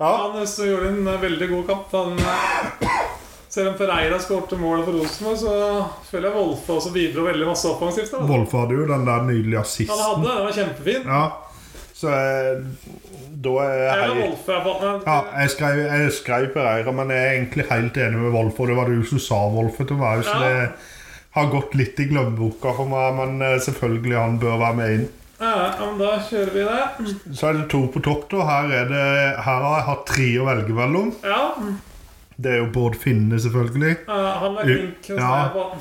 Ja. Han også gjorde en eh, veldig god kamp. Han, eh, selv om Pereira skårte målet for Rosenborg, så føler jeg Wolfe også bidro veldig masse offensivt. da. Wolfe hadde jo den der nydelige Han assisten. hadde, den var kjempefin. Ja. Så eh, da er jeg Eller hei. Wolfe, i hvert fall. Ja, jeg skrev, jeg skrev Pereira, men jeg er egentlig helt enig med Wolfe. Og det var du som sa Wolfe til meg, så Ja. det har gått litt i glemmeboka for meg. Men eh, selvfølgelig, han bør være med inn. Ja, ja, men da kjører vi det. Så er det to på topp, da. Her, er det, her har jeg hatt tre å velge mellom. Ja, Det er jo Bård Finne, selvfølgelig. eh, han er Ja. flink. hos meg på-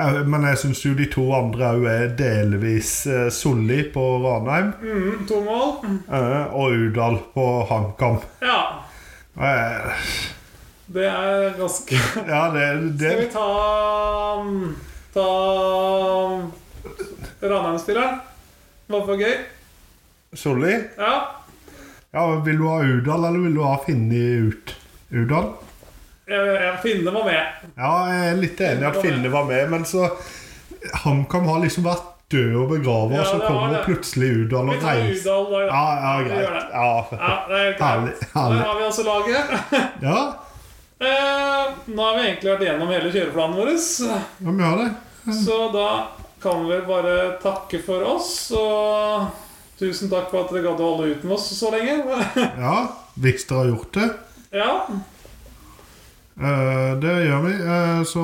Eh, Men jeg syns jo de to andre òg er delvis eh, Solli på Ranheim Mm, to mål. eh, og Udal på HamKam. Ja. Eh, Det er ganske Ja, det, det Skal vi ta um, Ta um, Ranheim-spilleren? Bare for gøy. Solli? Ja. Ja, vil du ha Udal, eller vil du ha Finne ut? Udal? Jeg, jeg finner meg med. Ja, jeg er litt enig i at Finne var med, men så HamKam har liksom vært død og begravet, Ja, og så det har kommer det. plutselig Udal Vi og tar reiser Udal da. Ja, ja, Vi gjør greit. det. Ja. Ja, det er helt Herlig. greit. Der herlig. har vi altså laget. Ja, Eh, nå har vi egentlig vært gjennom hele kjøreplanen vår, vi gjør det. så da kan vi bare takke for oss. Og tusen takk for at dere gadd å holde ut med oss så lenge. Ja, hvis dere har gjort det. Ja, Eh, Det gjør vi. Eh, Så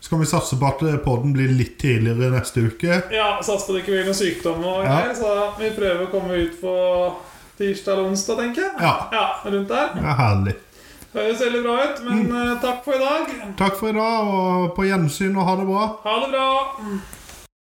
skal vi satse på at podden blir litt tidligere neste uke. ja Sats på at det ikke blir noe sykdom, og Ja. greier, så vi prøver å komme ut på tirsdag eller onsdag, tenker jeg. Ja, Ja, rundt der. det er herlig. Høres veldig bra ut, Mm. men eh, takk for i dag. Takk for i dag, og på gjensyn, og ha det bra. Ha det bra.